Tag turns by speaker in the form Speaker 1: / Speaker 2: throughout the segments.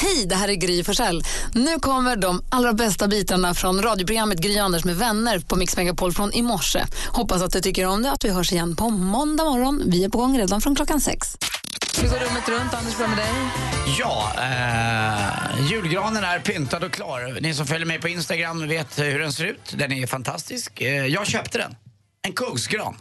Speaker 1: Hej, det här är Gry Forssell. Nu kommer de allra bästa bitarna från radioprogrammet Gry Anders med vänner på Mix Megapol från i morse. Hoppas att du tycker om det och att vi hörs igen på måndag morgon. Vi är på gång redan från klockan sex. Vi går rummet runt. Anders, börjar med dig.
Speaker 2: Ja, eh, julgranen är pyntad och klar. Ni som följer mig på Instagram vet hur den ser ut. Den är fantastisk. Eh, jag köpte den. En kungsgran.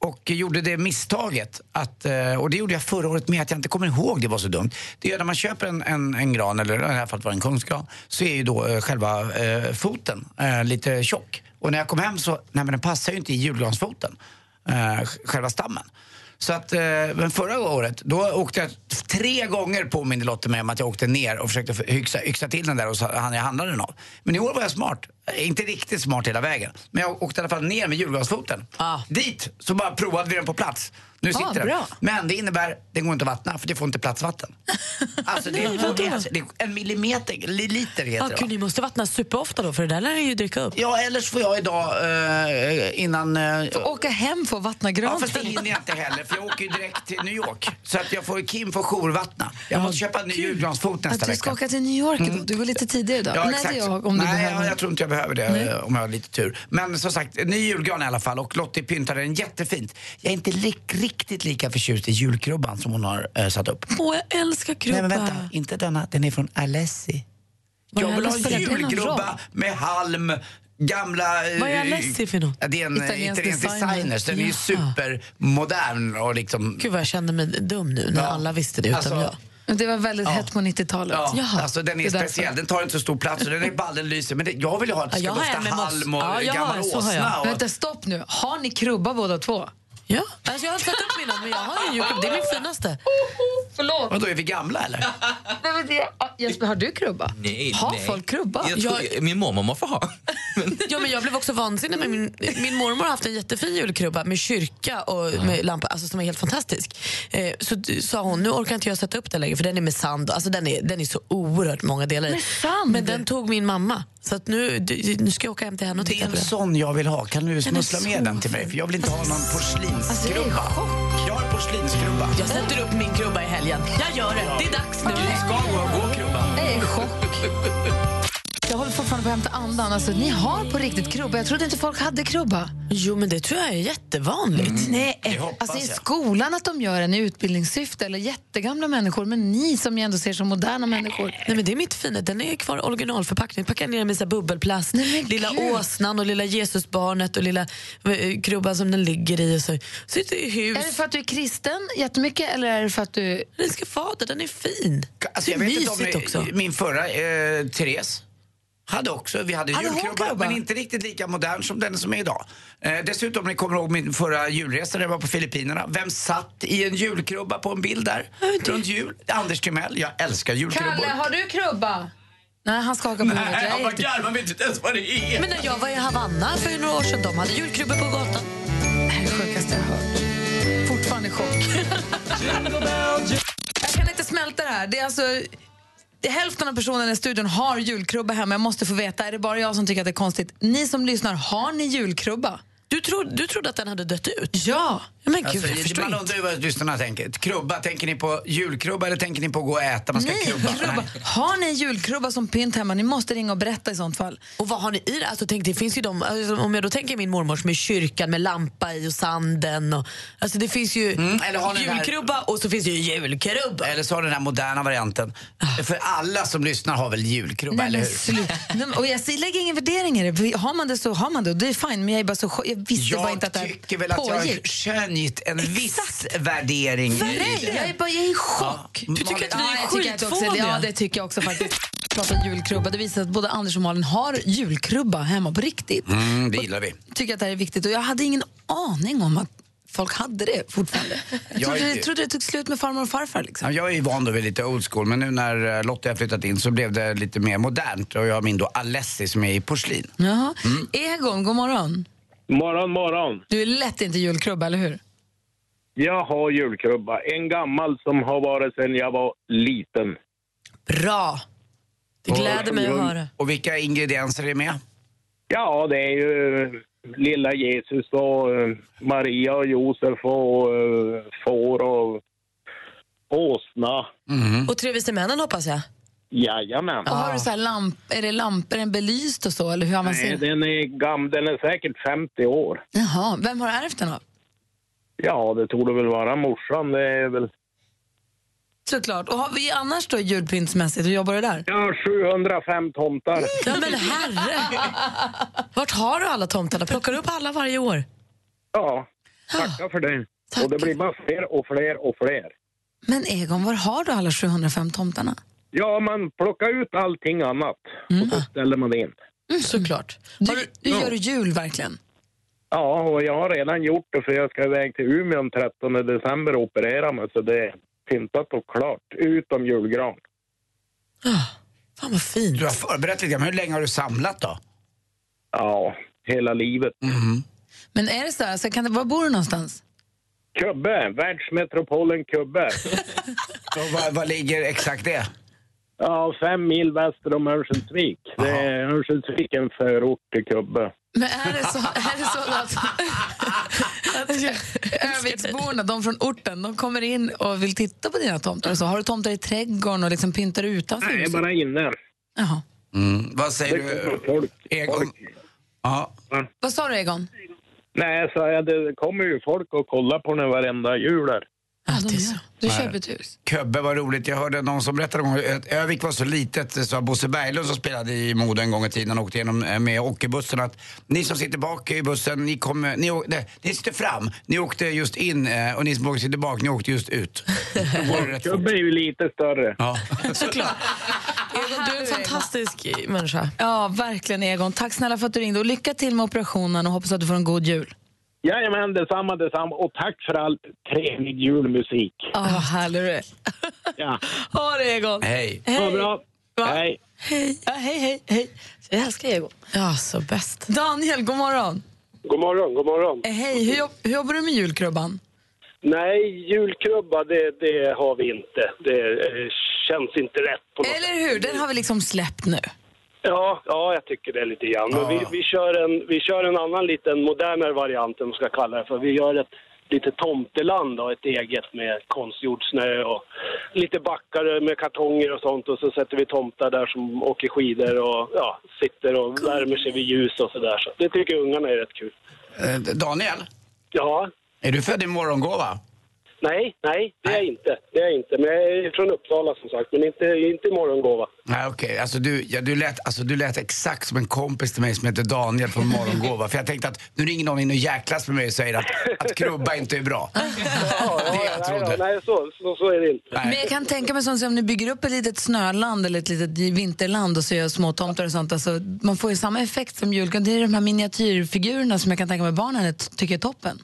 Speaker 2: Och gjorde det misstaget, att, eh, och det gjorde jag förra året med att jag inte kommer ihåg, det var så dumt. Det är när man köper en, en, en gran, eller i det här fallet var det en kungsgran, så är ju då eh, själva eh, foten eh, lite tjock. Och när jag kom hem så, nej men den passar ju inte i julgransfoten, eh, sj- själva stammen. Så att, eh, men förra året, då åkte jag tre gånger påminde Lotte mig om att jag åkte ner och försökte för- yxa, yxa till den där och så han jag handlade den av. Men i år var jag smart. Eh, Inte riktigt smart hela vägen. Men jag åkte i alla fall ner med julgransfoten. Dit så bara provade vi den på plats. Nu sitter den.
Speaker 1: Ah. bra.
Speaker 2: Men det innebär, den går inte att vattna för det får inte plats vatten. Alltså det, är, det, är, det är en millimeter, li- liter heter
Speaker 3: Ja,
Speaker 2: det va?
Speaker 3: gud, ni måste vattna superofta då, för det där lär ju dyka upp.
Speaker 2: Ja, ellers får jag idag eh, innan... Eh,
Speaker 1: Åka hem för att vattna
Speaker 2: Ja,
Speaker 1: granen.
Speaker 2: fast det hinner jag inte heller för jag åker ju direkt till New York. Så att jag får, Kim får jourvattna. Jag måste köpa en ny julgransfot nästa
Speaker 1: att du ska
Speaker 2: vecka. Mm.
Speaker 1: åka till New York idag. Du går lite tidigare idag. Nej, det är jag om du
Speaker 2: Nej,
Speaker 1: behöver.
Speaker 2: jag, jag tror inte jag behöver det eh, om jag har lite tur. Men som sagt, en ny julgran i alla fall och Lottie pyntade den jättefint. Jag är inte li- riktigt lika förtjust i julkrubban som hon har eh, satt upp.
Speaker 3: Åh, jag älskar
Speaker 2: Nej
Speaker 3: krubba.
Speaker 2: men vänta, inte denna. Den är från Alessi.
Speaker 1: Vad
Speaker 2: Jag
Speaker 1: är
Speaker 2: vill ha
Speaker 1: Alessi? Spelar det någon roll?
Speaker 2: julgrubba med halm, gamla... eh,
Speaker 3: Vad är Alessi för något?
Speaker 2: Ja, Det är en eh,
Speaker 1: Italiensk
Speaker 2: italiensk
Speaker 1: designer.
Speaker 2: designer. så Den är ju
Speaker 3: Jaha.
Speaker 2: supermodern och liksom...
Speaker 3: Gud vad jag känner mig dum nu när
Speaker 2: Ja.
Speaker 3: alla visste det utom
Speaker 2: Alltså,
Speaker 3: jag.
Speaker 1: Det var väldigt hett på 90-talet.
Speaker 2: Ja,
Speaker 3: Jaha,
Speaker 2: alltså den
Speaker 1: det
Speaker 2: är
Speaker 1: är därför.
Speaker 2: speciell. Den tar inte så stor plats och den är ballen lyser. Men det, jag vill ju ha att det ska
Speaker 3: jag har en
Speaker 2: dofta
Speaker 3: med moss.
Speaker 2: halm och
Speaker 3: Ja, jag har,
Speaker 2: gammal
Speaker 3: så har jag.
Speaker 2: åsna. Och,
Speaker 1: Vänta, stopp nu. Har ni krubba båda två?
Speaker 3: Ja, alltså jag har satt upp mina, men jag har ju julklapp. Det är min finaste.
Speaker 1: Förlåt.
Speaker 2: och då är vi gamla eller?
Speaker 1: Nej, men det- ah, Jesper, har du krubba?
Speaker 4: Nej,
Speaker 1: har
Speaker 4: nej.
Speaker 1: folk krubba?
Speaker 4: Jag tror, min mormor må få ha. Men,
Speaker 3: Ja, men jag blev också vansinnig. Med min, min mormor har haft en jättefin julkrubba med kyrka och
Speaker 2: Mm.
Speaker 3: med lampa alltså, som är helt fantastisk. Eh, så d- sa hon, nu orkar inte jag sätta upp den längre för den är med sand. Alltså, den, är, den är så oerhört många delar i.
Speaker 1: Med sand?
Speaker 3: Men den tog min mamma. Så att nu, d- nu ska jag åka hem till henne och
Speaker 2: Det är
Speaker 3: titta på
Speaker 2: en
Speaker 3: den.
Speaker 2: sån jag vill ha. Kan du smussla
Speaker 3: så
Speaker 2: med den till mig? För jag vill inte ha någon
Speaker 1: Alltså, jag är i
Speaker 2: porslinskrubba.
Speaker 1: chock.
Speaker 2: Jag har porslinskrubba.
Speaker 3: Jag sätter upp min krubba i helgen. Jag gör det. Det är dags nu.
Speaker 2: Du ska gå och gå krubban.
Speaker 1: Jag är i chock. Jag håller fortfarande på att hämta andan. Alltså, ni har på riktigt krubba. Jag trodde inte folk hade krubba.
Speaker 3: Jo, men det tror jag är jättevanligt.
Speaker 1: Nej,
Speaker 2: hoppas
Speaker 1: alltså i
Speaker 2: jag.
Speaker 1: skolan att de gör en i utbildningssyfte eller jättegamla människor, men ni som jag ändå ser som moderna människor.
Speaker 3: Nej men det är mitt fina, den är kvar i originalförpackning. Packar ner den med så här bubbelplast.
Speaker 1: Nej, men
Speaker 3: lilla
Speaker 1: gud.
Speaker 3: åsnan och lilla Jesusbarnet och lilla eh, krubban som den ligger i. Och så så är det i hus.
Speaker 1: Är det för att du är kristen jättemycket eller är det för att du...
Speaker 3: Den ska fader, den är fin.
Speaker 2: Alltså,
Speaker 3: det
Speaker 2: jag
Speaker 3: är
Speaker 2: vet inte om
Speaker 3: mysigt
Speaker 2: ni,
Speaker 3: också.
Speaker 2: Min förra, eh, Therese, hade också, vi hade,
Speaker 1: Hade hon
Speaker 2: julkrubba
Speaker 1: krubba?
Speaker 2: men inte riktigt lika modern som den som är idag. Eh, dessutom, om ni kommer ihåg min förra julresa när jag var på Filippinerna. Vem satt i en julkrubba på en bild där? Runt jul. Anders Timell, jag älskar julkrubbor.
Speaker 1: Kalle, har du krubba? Nej, han skakar på huvudet.
Speaker 2: Nej,
Speaker 1: Jag
Speaker 2: han
Speaker 1: är
Speaker 2: bara
Speaker 1: inte-
Speaker 2: garvar, vet inte ens vad det är.
Speaker 3: Men när jag var i Havanna för några år sedan, de hade julkrubbor på gatan.
Speaker 1: Det här är det sjukaste jag har hört. Fortfarande i chock. jag kan inte smälta det här. Det är alltså... det- Hälften av personerna i studion har julkrubba hemma. Jag måste få veta, är det bara jag som tycker att det är konstigt? Ni som lyssnar, har ni julkrubba?
Speaker 3: Du, tro, du trodde att den hade dött ut?
Speaker 1: Ja!
Speaker 3: Ja, Men gud,
Speaker 2: Alltså,
Speaker 3: jag förstår
Speaker 2: man
Speaker 3: inte.
Speaker 2: undrar ju vad lyssnarna tänker. Krubba, tänker ni på julkrubba eller tänker ni på att gå och äta? Man ska
Speaker 1: Ni,
Speaker 2: krubba.
Speaker 1: krubba.
Speaker 2: Nej.
Speaker 1: Har ni julkrubba som pynt hemma? Ni måste ringa och berätta i sånt fall.
Speaker 3: Och vad har ni i det? Alltså, tänk, det finns ju de, alltså, om jag då tänker min mormor som är i kyrkan med lampa i och sanden. Och, alltså det finns ju
Speaker 2: Mm. eller har ni den här-
Speaker 3: julkrubba och så finns det ju julkrubba.
Speaker 2: Eller så har den här moderna varianten. För alla som lyssnar har väl julkrubba,
Speaker 1: Nej,
Speaker 2: eller
Speaker 1: men
Speaker 2: hur?
Speaker 1: slut. Nej, men- och jag ser- lägger ingen värdering i det. Har man det så har man det och det är fine. Men jag, är bara så, chock- jag visste bara inte att
Speaker 2: Jag
Speaker 1: det här
Speaker 2: tycker väl att jag har
Speaker 1: pågick.
Speaker 2: skönjt en viss värdering. i
Speaker 1: Nej,
Speaker 2: det.
Speaker 1: jag är, bara, jag är i chock.
Speaker 2: Du tycker att vi
Speaker 1: ja,
Speaker 3: är
Speaker 1: jag tycker att också-
Speaker 3: skitfåniga.
Speaker 1: Ja, det tycker jag också faktiskt. Prata julkrubba. Det visar att både Anders och Malin har julkrubba hemma på riktigt.
Speaker 2: Mm, det gillar vi.
Speaker 1: Tycker att det här är viktigt och jag hade ingen aning om att folk hade det fortfarande. Jag
Speaker 2: Jag
Speaker 1: trodde,
Speaker 2: är-
Speaker 1: jag trodde det tog slut med farmor och farfar. Liksom.
Speaker 2: Ja, Jag är ju van då vid lite old school, men nu när eh, Lottie har flyttat in så blev det lite mer modernt. Och jag har min då Alessi som är i porslin.
Speaker 1: Jaha.
Speaker 2: Mm.
Speaker 1: Egon, god morgon.
Speaker 5: Morgon, morgon.
Speaker 1: Du är lätt inte julkrubba, eller hur?
Speaker 5: Jag har julkrubba. En gammal som har varit sedan jag var liten.
Speaker 3: Bra! Det gläder mig att höra.
Speaker 2: Och vilka ingredienser är med?
Speaker 5: Ja, det är ju eh, lilla Jesus och eh, Maria och Josef och eh, får och åsna.
Speaker 3: Och tre vise männen hoppas jag.
Speaker 5: Jajamän.
Speaker 1: Och har du så här lamp, är det lampor, är den belyst och så? Eller hur
Speaker 5: Nej,
Speaker 1: avancerad?
Speaker 5: den är gam, den är säkert 50 år.
Speaker 1: Jaha, vem har du ärvt den av?
Speaker 5: Ja, det torde väl vara morsan. Det är väl
Speaker 1: Såklart. Och har vi annars då julpyntsmässigt, hur jobbar du där?
Speaker 5: ja, 705 tomtar.
Speaker 3: Ja men herre! Vart har du alla tomtarna? Plockar du upp alla varje år?
Speaker 5: Ja, tacka för det. Och det blir bara fler och fler och fler.
Speaker 1: Men Egon, var har du alla 705 tomtarna?
Speaker 5: Ja, man plockar ut allting annat och
Speaker 1: Mm.
Speaker 5: så ställer man in.
Speaker 3: Såklart. Har
Speaker 1: Du,
Speaker 3: du,
Speaker 1: du gör jul verkligen.
Speaker 5: Ja, och jag har redan gjort det för jag ska iväg till Umeå den 13 december och operera mig så det är pyntat och klart, utom julgran.
Speaker 3: Ah, fan vad fint.
Speaker 2: Du har förberett lite, men hur länge har du samlat då?
Speaker 5: Ja, hela livet.
Speaker 2: Mm-hmm.
Speaker 1: Men är det så här, så kan det, var bor du någonstans?
Speaker 5: Kubbe, världsmetropolen Kubbe.
Speaker 2: Och vad, vad ligger exakt det?
Speaker 5: Ja, fem mil väster om Örnsköldsvik. Det är Örnsköldsvik är en förort till Kubbe.
Speaker 1: Men är det så, är det så att, att Örnsköldsviksborna, de från orten, de kommer in och vill titta på dina tomtar och så? Har du tomtar i trädgården och liksom pyntar du utanför
Speaker 5: Nej,
Speaker 1: huset?
Speaker 5: bara inne.
Speaker 1: Jaha.
Speaker 2: Mm. Vad säger
Speaker 5: Det kommer
Speaker 2: du?
Speaker 5: folk.
Speaker 2: Egon?
Speaker 5: folk.
Speaker 2: Ja.
Speaker 1: Vad sa du Egon?
Speaker 5: Nej, sa jag, det kommer ju folk och kollar på den varenda jul där.
Speaker 1: Ja, de gör. Du köper ett hus.
Speaker 2: Köbbe, vad roligt. Jag hörde någon som berättade en gång att Övik var så litet så att Bosse Berglund som spelade i Modo en gång i tiden och åkte igenom eh, med hockeybussen att ni som sitter bak i bussen, ni, kom, eh, ni, å- nej, ni sitter fram, ni åkte just in eh, och ni som sitter bak, ni åkte just ut. Då var det rätt fort.
Speaker 5: Kubbe är ju lite större.
Speaker 2: Ja.
Speaker 3: Såklart. Egon, du är en fantastisk människa.
Speaker 1: Ja, verkligen Egon. Tack snälla för att du ringde och lycka till med operationen och hoppas att du får en god jul.
Speaker 5: Jajamän, detsamma, detsamma. Och tack för all trevlig julmusik.
Speaker 1: Ja, vad härlig du är.
Speaker 5: Ja.
Speaker 1: Ha det Egon.
Speaker 2: Hej.
Speaker 5: Ha bra.
Speaker 1: Va?
Speaker 5: Hej.
Speaker 1: Ja, hej, hej, hej. Jag älskar Egon.
Speaker 3: Ja, så bäst.
Speaker 1: Daniel, god morgon.
Speaker 5: God morgon, god morgon.
Speaker 1: Eh, Hej, hur, jobb, hur jobbar du med julkrubban?
Speaker 5: Nej, julkrubba det, det har vi inte. Det eh, känns inte rätt på något sätt.
Speaker 1: Eller hur? Den har vi liksom släppt nu.
Speaker 5: Ja, ja, jag tycker det lite grann. Men
Speaker 2: Ja.
Speaker 5: vi, vi, kör en, vi kör en annan liten modernare variant, om man ska kalla det för. Vi gör ett lite tomteland och ett eget med konstgjord snö och lite backar med kartonger och sånt och så sätter vi tomtar där som åker skidor och ja, sitter och värmer sig vid ljus och sådär. Så det tycker ungarna är rätt kul.
Speaker 2: Eh, Daniel,
Speaker 5: Ja,
Speaker 2: är du född i morgongåva?
Speaker 5: nej, nej, det är jag inte. Det är jag inte. Men jag är från Uppsala som sagt, men inte, inte i morgongåva.
Speaker 2: Nej okej, alltså, du, ja, du, lät, alltså du lät exakt som en kompis till mig som heter Daniel från Morgongåva. För jag tänkte att nu ringer någon in och jäklas med mig och säger att, att krubba inte är bra. Det jag
Speaker 5: nej, då,
Speaker 2: trodde.
Speaker 5: nej så, så, så är det inte.
Speaker 1: Men jag kan tänka mig sånt som om ni bygger upp ett litet snöland eller ett litet vinterland och så gör små tomtar och sånt. Alltså, man får ju samma effekt som julkrubban. Det är de här miniatyrfigurerna som jag kan tänka mig barnen är- tycker är toppen.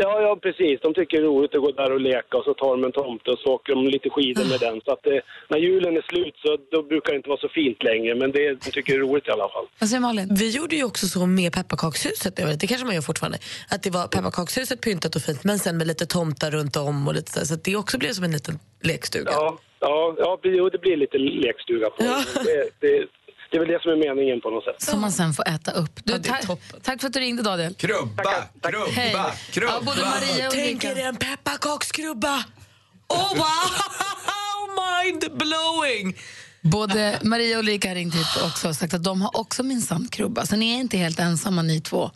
Speaker 5: Ja, ja, precis. De tycker det är roligt att gå där och leka och så tar de en tomte och så åker de lite skidor med den. Så att eh, när julen är slut så då brukar det inte vara så fint längre, men det, de tycker det är roligt i alla fall.
Speaker 1: Vad säger Malin?
Speaker 3: Vi gjorde ju också så med pepparkakshuset, jag vet, det kanske man gör fortfarande, att det var pepparkakshuset pyntat och fint men sen med lite tomtar runt om och lite så, här, så att det också blev som en liten lekstuga.
Speaker 5: Ja, ja, ja det- jo, det blir lite lekstuga på det. det. Det, det är väl det som är meningen på något sätt.
Speaker 1: Som man sen får äta upp. Du,
Speaker 3: Ja, det är
Speaker 1: ta-
Speaker 3: toppen.
Speaker 1: tack för att du ringde Daniel.
Speaker 2: Krubba,
Speaker 1: Hej.
Speaker 2: krubba,
Speaker 1: Ja, både
Speaker 2: krubba.
Speaker 1: Maria och
Speaker 3: Tänk
Speaker 1: Ulrika.
Speaker 3: er en pepparkakskrubba! Oh wow!
Speaker 1: Oh,
Speaker 3: Mind blowing!
Speaker 1: Både Maria och Ulrika har ringt hit också och sagt att de har också minsann krubba. Så ni är inte helt ensamma ni två.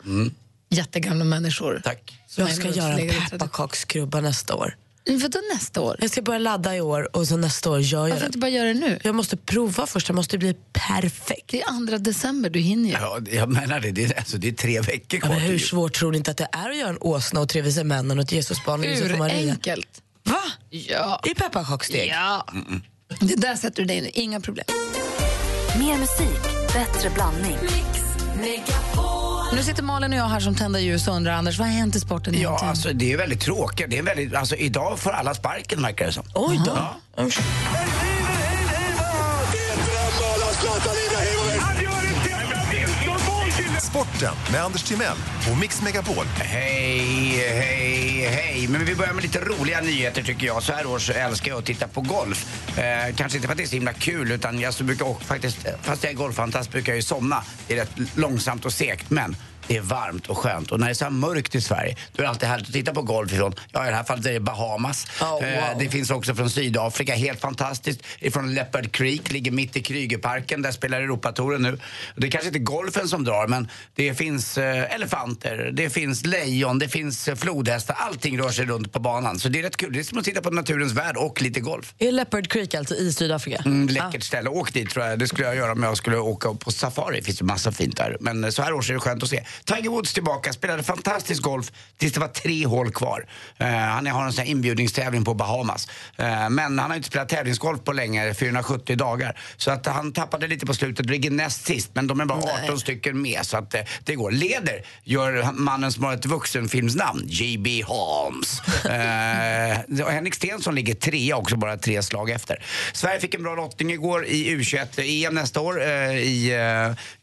Speaker 1: Jättegamla människor.
Speaker 2: Mm. Tack.
Speaker 1: Som
Speaker 3: Jag ska
Speaker 1: ändå
Speaker 3: göra en
Speaker 1: lägger ut det.
Speaker 3: pepparkakskrubba nästa år.
Speaker 1: Men Vadå nästa år?
Speaker 3: Jag ska börja ladda i år och sen nästa år gör jag
Speaker 1: Varför
Speaker 3: den.
Speaker 1: inte bara göra det nu?
Speaker 3: Jag måste prova först, jag måste bli perfekt.
Speaker 1: Det är andra december, du hinner ju.
Speaker 2: Ja, det- jag menar det. Det är, alltså, det är tre veckor
Speaker 3: Men
Speaker 2: kvar till
Speaker 3: hur
Speaker 2: jul.
Speaker 3: svårt tror ni inte att det är att göra en åsna och tre vise männen och ett Jesusbarn och Josef och Maria?
Speaker 1: Urenkelt.
Speaker 3: Va?
Speaker 1: Ja.
Speaker 3: I pepparkaksdeg?
Speaker 1: ja. Det där sätter du dig in i, inga problem.
Speaker 6: Mer musik, bättre blandning.
Speaker 7: Mix Megapol.
Speaker 1: Nu sitter Malin och jag här som tända ljus och undrar Anders, vad har hänt i sporten
Speaker 2: Ja,
Speaker 1: egentligen?
Speaker 2: alltså det är väldigt tråkigt. Det är väldigt, alltså, idag får alla sparken verkar det som.
Speaker 3: Oj då.
Speaker 2: Ja.
Speaker 7: Sporten med Anders Timell och Mix Megapol.
Speaker 2: Hej, hej, hej. Men vi börjar med lite roliga nyheter tycker jag. Så här års älskar jag att titta på golf. Eh, kanske inte för att det är så himla kul utan jag så brukar också, faktiskt, fast jag är golffantast brukar jag ju somna. Det är rätt långsamt och segt men det är varmt och skönt. Och när det är så här mörkt i Sverige då är det alltid härligt att titta på golf ifrån. Ja, i det här fallet är det Bahamas.
Speaker 3: Oh, wow.
Speaker 2: Eh, det finns också från Sydafrika, helt fantastiskt. Ifrån Leopard Creek, ligger mitt i Krügerparken. Där spelar Europatouren nu. Det är kanske inte golfen som drar, men det finns eh, elefanter, det finns lejon, det finns eh, flodhästar. Allting rör sig runt på banan. Så det är rätt kul. Det är som att titta på naturens värld och lite golf.
Speaker 3: Är Leopard Creek alltså i Sydafrika?
Speaker 2: Mm, läckert ställe. Åk dit tror jag. Det skulle jag göra om jag skulle åka på safari. Det finns ju massa fint där. Men eh, så här års är det skönt att se. Tiger Woods tillbaka, spelade fantastisk golf tills det var tre hål kvar. Eh, han har en sån här inbjudningstävling på Bahamas. Eh, men han har inte spelat tävlingsgolf på länge, 470 dagar. Så att han tappade lite på slutet, ligger näst sist. Men de är bara 18 stycken med så att eh, det går. Leder gör mannen som har ett vuxenfilmsnamn, J.B. Holmes. Eh, och Henrik Stenson ligger trea också, bara tre slag efter. Sverige fick en bra lottning igår i U21-EM nästa år eh, i,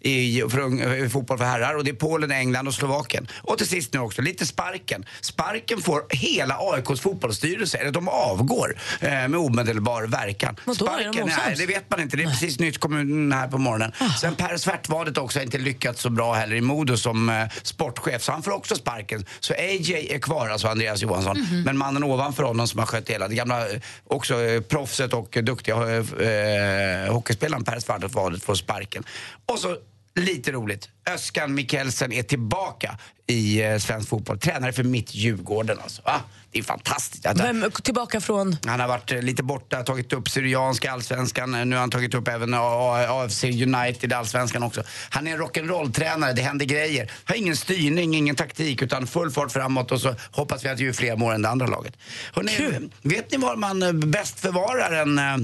Speaker 2: eh, i, för, ung- eh, fotboll för herrar. Och det är Polen, England och Slovakien. Och till sist nu också, lite sparken. Sparken får hela AIKs fotbollsstyrelse, eller de avgår eh, med omedelbar verkan.
Speaker 3: Vadå, är de
Speaker 2: sparken,
Speaker 3: osams? Ah.
Speaker 2: nej, det vet man inte. Det är precis nytt kommunen här på morgonen. Sen Per Svartvadet också har inte lyckats så bra heller i Modo som eh, sportchef, så han får också sparken. Så AJ är kvar, alltså Andreas Johansson.
Speaker 3: Mhm.
Speaker 2: Men mannen ovanför honom som har skött hela, det gamla eh, också eh, proffset och eh, duktiga eh, eh, hockeyspelaren Per Svartvadet får sparken. Och så Lite roligt. Öskan Mikkelsen är tillbaka i eh, svensk fotboll. Tränare för mitt Djurgården alltså. Ah, det är fantastiskt. Att-
Speaker 3: Vem, tillbaka från...
Speaker 2: han har varit eh, lite borta, tagit upp Syrianska allsvenskan. Eh, Nu har han tagit upp även A- A- AFC United allsvenskan också. Han är en rock'n'roll-tränare, det händer grejer. Har ingen styrning, ingen taktik, utan full fart framåt och så hoppas vi att ju fler mår än det andra laget. Hörrni, vet ni var man eh, bäst förvarar en... eh,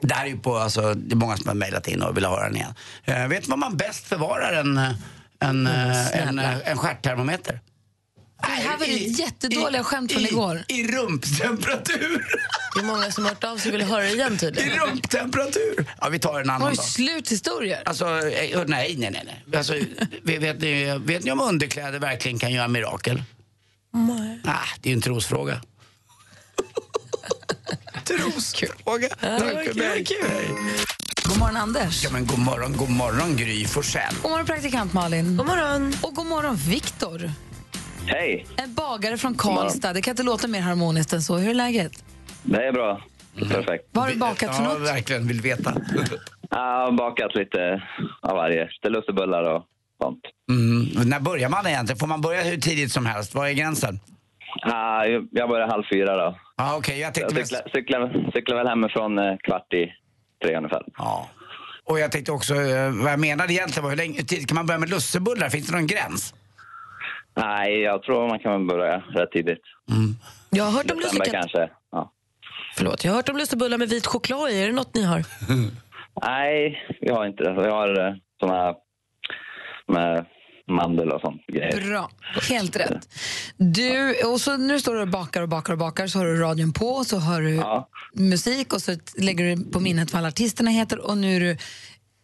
Speaker 2: Det här är ju på, alltså, det är många som har mejlat in och vill höra den igen. Eh, vet ni var man bäst förvarar en, eh, en, eh, en, eh, en stjärttermometer?
Speaker 1: här var ju
Speaker 2: I-
Speaker 1: jättedåliga
Speaker 2: i-
Speaker 1: skämt från
Speaker 2: i-
Speaker 1: igår.
Speaker 2: I rumptemperatur!
Speaker 3: Det är många som har hört av sig och vill höra igen
Speaker 2: I
Speaker 3: tydligen.
Speaker 2: rumptemperatur! Ja, vi tar en annan
Speaker 1: Har du
Speaker 2: dag.
Speaker 1: sluthistorier?
Speaker 2: Alltså, eh, nej, nej, nej. nej. Alltså, vet, vet, ni, vet ni om underkläder verkligen kan göra mirakel? Nej. Ah, det är ju en trosfråga. trosfråga. Tack
Speaker 3: var
Speaker 2: för
Speaker 3: kul, det var
Speaker 2: mig. Hej.
Speaker 1: God morgon Anders.
Speaker 2: Ja, men god morgon, god morgon Gry Forssell.
Speaker 1: God morgon praktikant Malin.
Speaker 3: God morgon.
Speaker 1: Och god morgon Viktor.
Speaker 8: Hej,
Speaker 1: En bagare från Karlstad. Det kan inte låta mer harmoniskt än så. Hur är läget?
Speaker 8: det är bra. Perfekt.
Speaker 1: Vad har du bakat för
Speaker 2: Ja,
Speaker 1: något?
Speaker 2: verkligen. Vill veta.
Speaker 8: Jag har bakat lite av varje. Lite lussebullar och sånt.
Speaker 2: Mm. När börjar man egentligen? Får man börja hur tidigt som helst? Var är gränsen?
Speaker 8: Ah, Jag börjar halv fyra då.
Speaker 2: Ah, Okej, jag
Speaker 8: Jag
Speaker 2: tänkte... mest-
Speaker 8: cyklar, cyklar, cyklar väl hemifrån eh, kvart i tre ungefär.
Speaker 2: Ja. Och jag tänkte också, eh, vad jag menade egentligen var hur länge hur tidigt kan man börja med lussebullar? Finns det någon gräns?
Speaker 8: Nej, jag tror man kan börja rätt tidigt.
Speaker 2: Mm.
Speaker 3: Jag har hört om
Speaker 8: December
Speaker 3: lussekatter.
Speaker 8: kanske. Ja.
Speaker 3: Förlåt, jag har hört om lussebullar med vit choklad i. Är det något ni har?
Speaker 8: Nej, vi har inte det. Vi har eh, såna här med mandel och sånt grejer.
Speaker 1: Bra, helt rätt. Du, och så nu står du och bakar och bakar och bakar så har du radion på och så hör du
Speaker 8: Ja.
Speaker 1: musik och så t- lägger du på minnet vad alla artisterna heter och nu är du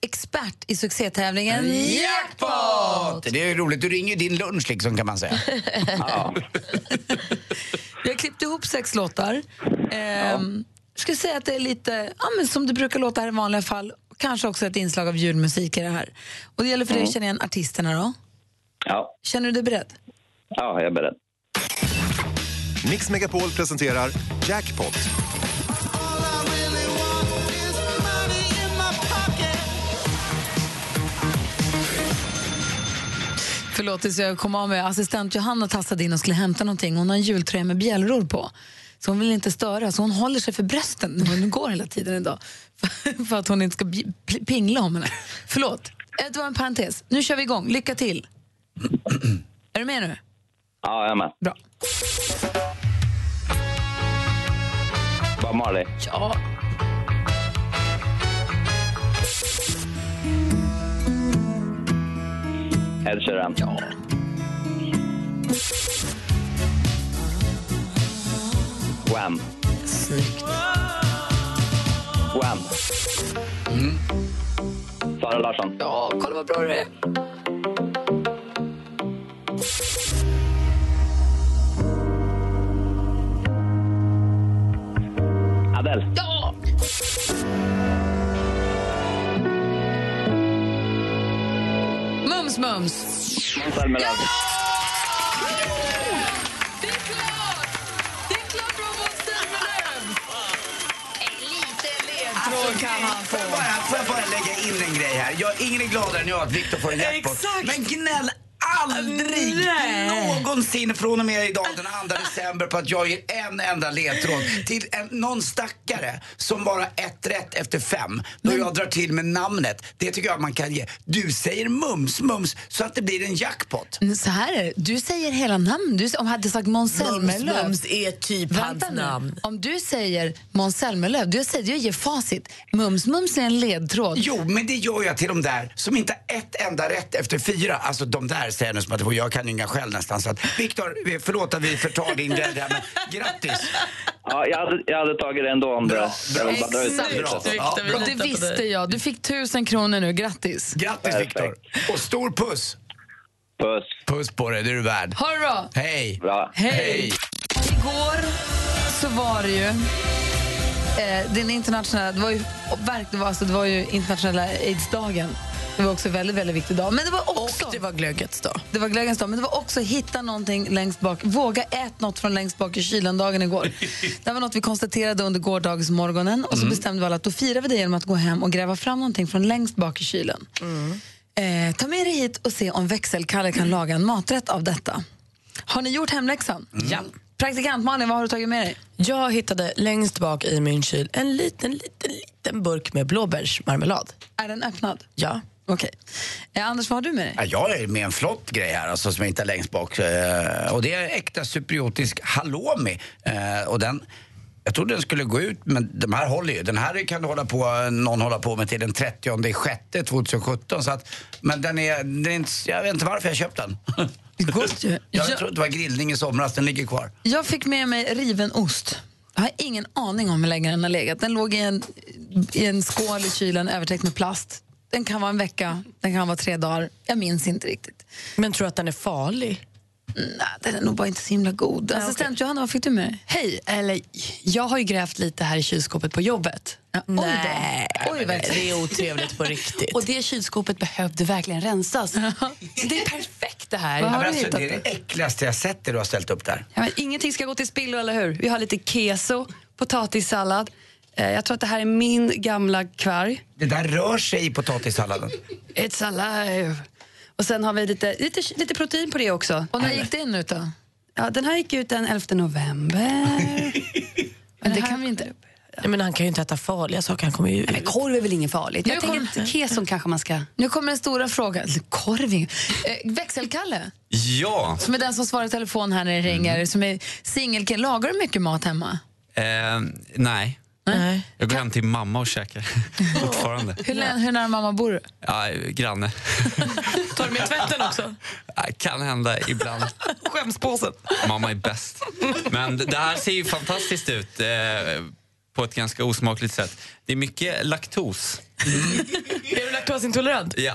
Speaker 1: expert i succétävlingen Jackpot!
Speaker 2: Det är ju roligt, du ringer ju din lunch liksom kan man säga.
Speaker 8: Ja.
Speaker 1: Jag har klippt ihop sex låtar. Ehm, Ska säga att det är lite ja, men som det brukar låta här i vanliga fall. Kanske också ett inslag av julmusik i det här. Och det gäller för dig att känna igen artisterna då.
Speaker 8: Ja.
Speaker 1: Känner du dig beredd?
Speaker 8: ja, jag är beredd.
Speaker 7: Mix Megapol presenterar Jackpot.
Speaker 1: Förlåt tills jag kom av med assistent Johanna tassade in och skulle hämta någonting. Hon har en jultröja med bjällror på. Så hon vill inte störa, så hon håller sig för brösten när hon går hela tiden idag. För, för att hon inte ska bj- pl- pingla om henne. Förlåt, Eh, det var en parentes. Nu kör vi igång, lycka till. är du med nu?
Speaker 8: Ja, jag är med.
Speaker 1: Bra.
Speaker 8: Bob Marley.
Speaker 1: Ja.
Speaker 8: Ed Sheeran.
Speaker 1: Ja.
Speaker 8: Wham.
Speaker 3: Snyggt.
Speaker 8: Wham. Sara Larsson.
Speaker 3: Ja, kolla vad bra du är.
Speaker 8: Adele.
Speaker 3: Ja!
Speaker 1: Mums, mums.
Speaker 8: Selma Lagerlöf.
Speaker 3: Det är klart! Det är klart Robot Stenerlöv! Lite ledtråd kan han
Speaker 2: Alltså, Får jag, bara, får jag bara lägga in en grej här? Jag, ingen är gladare än jag att Victor får en jackpot.
Speaker 3: Exakt.
Speaker 2: Men gnäll aldrig
Speaker 3: Nej.
Speaker 2: någonsin från och med idag den 2 december på att jag ger en enda ledtråd till en, någon stackare som bara ett rätt efter fem. Då jag drar till med namnet. Det tycker jag att man kan ge. Du säger mums, mums så att det blir en jackpot.
Speaker 1: Så här är det. Du säger hela namn. Du, om jag hade sagt Måns
Speaker 3: Mums
Speaker 1: Zelmerlöw-
Speaker 3: Mums är typ
Speaker 1: Vänta
Speaker 3: hans
Speaker 1: nu.
Speaker 3: namn.
Speaker 1: Om du säger Måns Zelmerlöw, du säger, jag ger facit. Mums Mums är en ledtråd.
Speaker 2: Jo, men det gör jag till de där som inte har ett enda rätt efter fyra. Alltså de där säger jag nu som att och jag kan ju inga själv nästan. Så att Viktor, vi- förlåt att vi förtar din grej där, men grattis.
Speaker 8: Ja, jag, hade, jag hade tagit det ändå om det... Jag vill bara dra ut det.
Speaker 2: Bra.
Speaker 3: Exakt.
Speaker 2: Ja, bra.
Speaker 1: Och det
Speaker 3: litar på
Speaker 1: visste
Speaker 3: dig.
Speaker 1: jag. Du fick tusen kronor nu. Grattis.
Speaker 2: Grattis Viktor. Och stor puss.
Speaker 8: Puss.
Speaker 2: Puss på dig, det är du värd.
Speaker 1: Ha det bra.
Speaker 2: Hej!
Speaker 8: Bra.
Speaker 2: Hej!
Speaker 1: Igår så var det ju eh, den internationella, det var ju, och verk- det var, alltså, det var ju internationella aidsdagen. Det var också en väldigt, väldigt viktig dag. Men det var också,
Speaker 3: Och det var glöggets dag.
Speaker 1: det var glädjens dag, men det var också hitta någonting längst bak. Våga ät något från längst bak i kylen dagen igår. det var något vi konstaterade under gårdagsmorgonen
Speaker 2: Mm.
Speaker 1: och så bestämde vi alla att då firar vi det genom att gå hem och gräva fram någonting från längst bak i kylen.
Speaker 2: Mm.
Speaker 1: Eh, ta med dig hit och se om växelkalle kan laga en maträtt av detta. Har ni gjort hemläxan? Ja. Praktikant Malin, vad har du tagit med dig?
Speaker 3: Jag hittade längst bak i min kyl en liten, liten, liten burk med blåbärsmarmelad.
Speaker 1: Är den öppnad?
Speaker 3: Ja.
Speaker 1: Okej. Eh, Anders, vad har du med dig?
Speaker 2: Ja, jag är med en flott grej här alltså, som jag inte är längst bak. Eh, Och det är äkta cypriotisk halloumi. Eh, Och den, jag trodde den skulle gå ut, men de här håller ju. Den här kan du hålla på, någon hålla på med till den 30 sjätte 2017. Så att, men den är, den är inte, jag vet inte varför jag köpte den.
Speaker 1: Gott ju.
Speaker 2: Jag
Speaker 1: Jag-
Speaker 2: trodde det var grillning i somras, den ligger kvar.
Speaker 1: Jag fick med mig riven ost. Jag har ingen aning om hur länge den har legat. Den låg i en, i en skål i kylen övertäckt med plast. Den kan vara en vecka, den kan vara tre dagar. Jag minns inte riktigt.
Speaker 3: Men tror du att den är farlig?
Speaker 1: Nej, den är nog bara inte så himla god. Alltså, Assistent Johanna, vad fick du med dig?
Speaker 9: Hej, eller jag har ju grävt lite här i kylskåpet på jobbet.
Speaker 1: Ja, oj då. Oj,
Speaker 3: det
Speaker 1: verkligen.
Speaker 3: är otrevligt på riktigt.
Speaker 9: Och det kylskåpet behövde verkligen rensas. Det är perfekt det här.
Speaker 1: Vad har
Speaker 2: Men
Speaker 1: du
Speaker 2: alltså,
Speaker 1: hittat
Speaker 2: det är det äckligaste jag har sett det du har ställt upp där.
Speaker 9: Ja, men ingenting ska gå till spillo, eller hur? Vi har lite keso, potatissallad. Eh, Jag tror att det här är min gamla kvarg.
Speaker 2: Det där rör sig i potatissalladen.
Speaker 9: It's alive. eh, Och sen har vi lite, lite, lite protein på det också.
Speaker 1: Och när gick den ut då?
Speaker 9: Ja, den här gick ut den 11 november.
Speaker 1: Men det kan vi inte.
Speaker 3: Nej, Men han kan ju inte äta farliga saker. Han kommer ju...
Speaker 9: Men korv är väl inget farligt?
Speaker 1: Nu
Speaker 9: Jag tänker att keson kanske man ska...
Speaker 1: Nu kommer den stora frågan. Korving. Eh, växelkalle,
Speaker 4: Ja,
Speaker 1: som är den som svarar i telefon här när det
Speaker 2: Mm.
Speaker 1: ringer, som är singelkille. Lagar du mycket mat hemma?
Speaker 4: eh, nej.
Speaker 3: Nej.
Speaker 4: Jag går hem till mamma och käkar fortfarande.
Speaker 1: Hur, lä- hur nära mamma bor du?
Speaker 4: Ja, granne.
Speaker 3: Tar du med tvätten också?
Speaker 4: Ja, Kan hända ibland.
Speaker 3: Skämspåsen.
Speaker 4: Mamma är bäst. Men det här ser ju fantastiskt ut eh, på ett ganska osmakligt sätt. Det är mycket laktos.
Speaker 3: Är du laktosintolerant?
Speaker 4: Ja.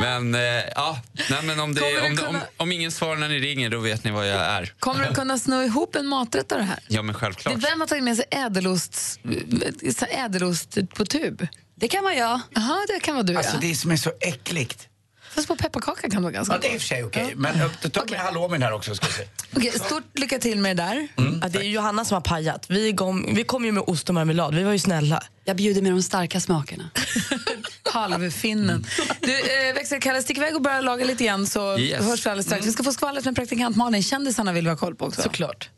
Speaker 4: men eh, ja, nej, men om,
Speaker 1: Kommer
Speaker 4: det,
Speaker 1: du
Speaker 4: om, det, om,
Speaker 1: kunna-
Speaker 4: om ingen svarar när ni ringer, då vet ni vad jag är.
Speaker 1: Kommer du kunna snå ihop en maträtt av det här?
Speaker 4: Ja, men
Speaker 1: Det
Speaker 4: självklart.
Speaker 1: är vem har tagit med sig ädelost, så här ädelost på tub?
Speaker 9: Det kan vara jag.
Speaker 1: Jaha, det kan vara du
Speaker 2: Alltså
Speaker 1: ja.
Speaker 2: det som är så äckligt.
Speaker 1: Fast på pepparkaka kan det vara ganska
Speaker 2: Ja, det
Speaker 1: gott.
Speaker 2: är i och för sig okej. Men eh, ta med halloumin här också ska vi se.
Speaker 1: Okej, stort lycka till med det där.
Speaker 3: Ja, det är ju Johanna som har pajat. Vi kom, vi kom ju med ost och marmelad. Vi var ju snälla.
Speaker 9: Jag bjuder med de starka smakerna.
Speaker 1: Halvfinnen. Du, eh, växelkalle, stick iväg och börja laga lite igen så
Speaker 4: Yes.
Speaker 1: hörs vi alldeles strax. Vi ska få skvallret med praktikant Malin. Kändisarna vill vi ha koll på också.
Speaker 3: Såklart.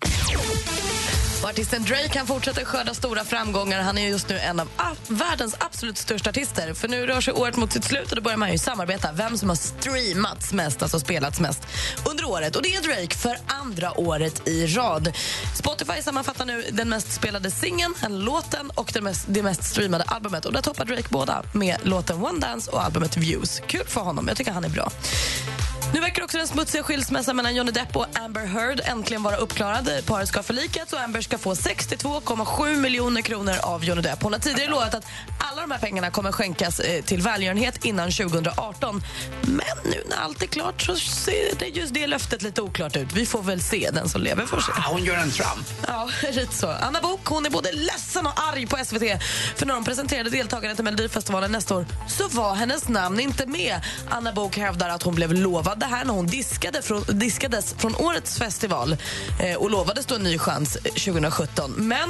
Speaker 3: Och artisten Drake kan fortsätta skörda stora framgångar. Han är just nu en av a- världens absolut största artister. För nu rör sig året mot sitt slut och då börjar man ju samarbeta. Vem som har streamats mest, alltså spelats mest under året. Och det är Drake för andra året i rad. Spotify sammanfattar nu den mest spelade singeln, den låten och det mest, det mest streamade albumet. Och där toppar Drake båda med låten One Dance och albumet Views. Kul för honom, jag tycker han är bra. Nu verkar också den smutsiga skilsmässan mellan Johnny Depp och Amber Heard äntligen vara uppklarad. Eh, Paret ska förlikas och Amber ska få 62,7 miljoner kronor av Johnny Depp. Hon har tidigare lovat att alla de här pengarna kommer skänkas eh, till välgörenhet innan 2018. Men nu när allt är klart så ser det just det löftet lite oklart ut. Vi får väl se, den som lever får se.
Speaker 2: Ah, Hon gör en Trump.
Speaker 3: Ja, lite så. Anna Bok, hon är både ledsen och arg på SVT. För när de presenterade deltagarna till Melodifestivalen nästa år så var hennes namn inte med. Anna Bok hävdar att hon blev lovad det här när hon diskade från, diskades från årets festival eh, och lovades då en ny chans eh, 2017. Men eh,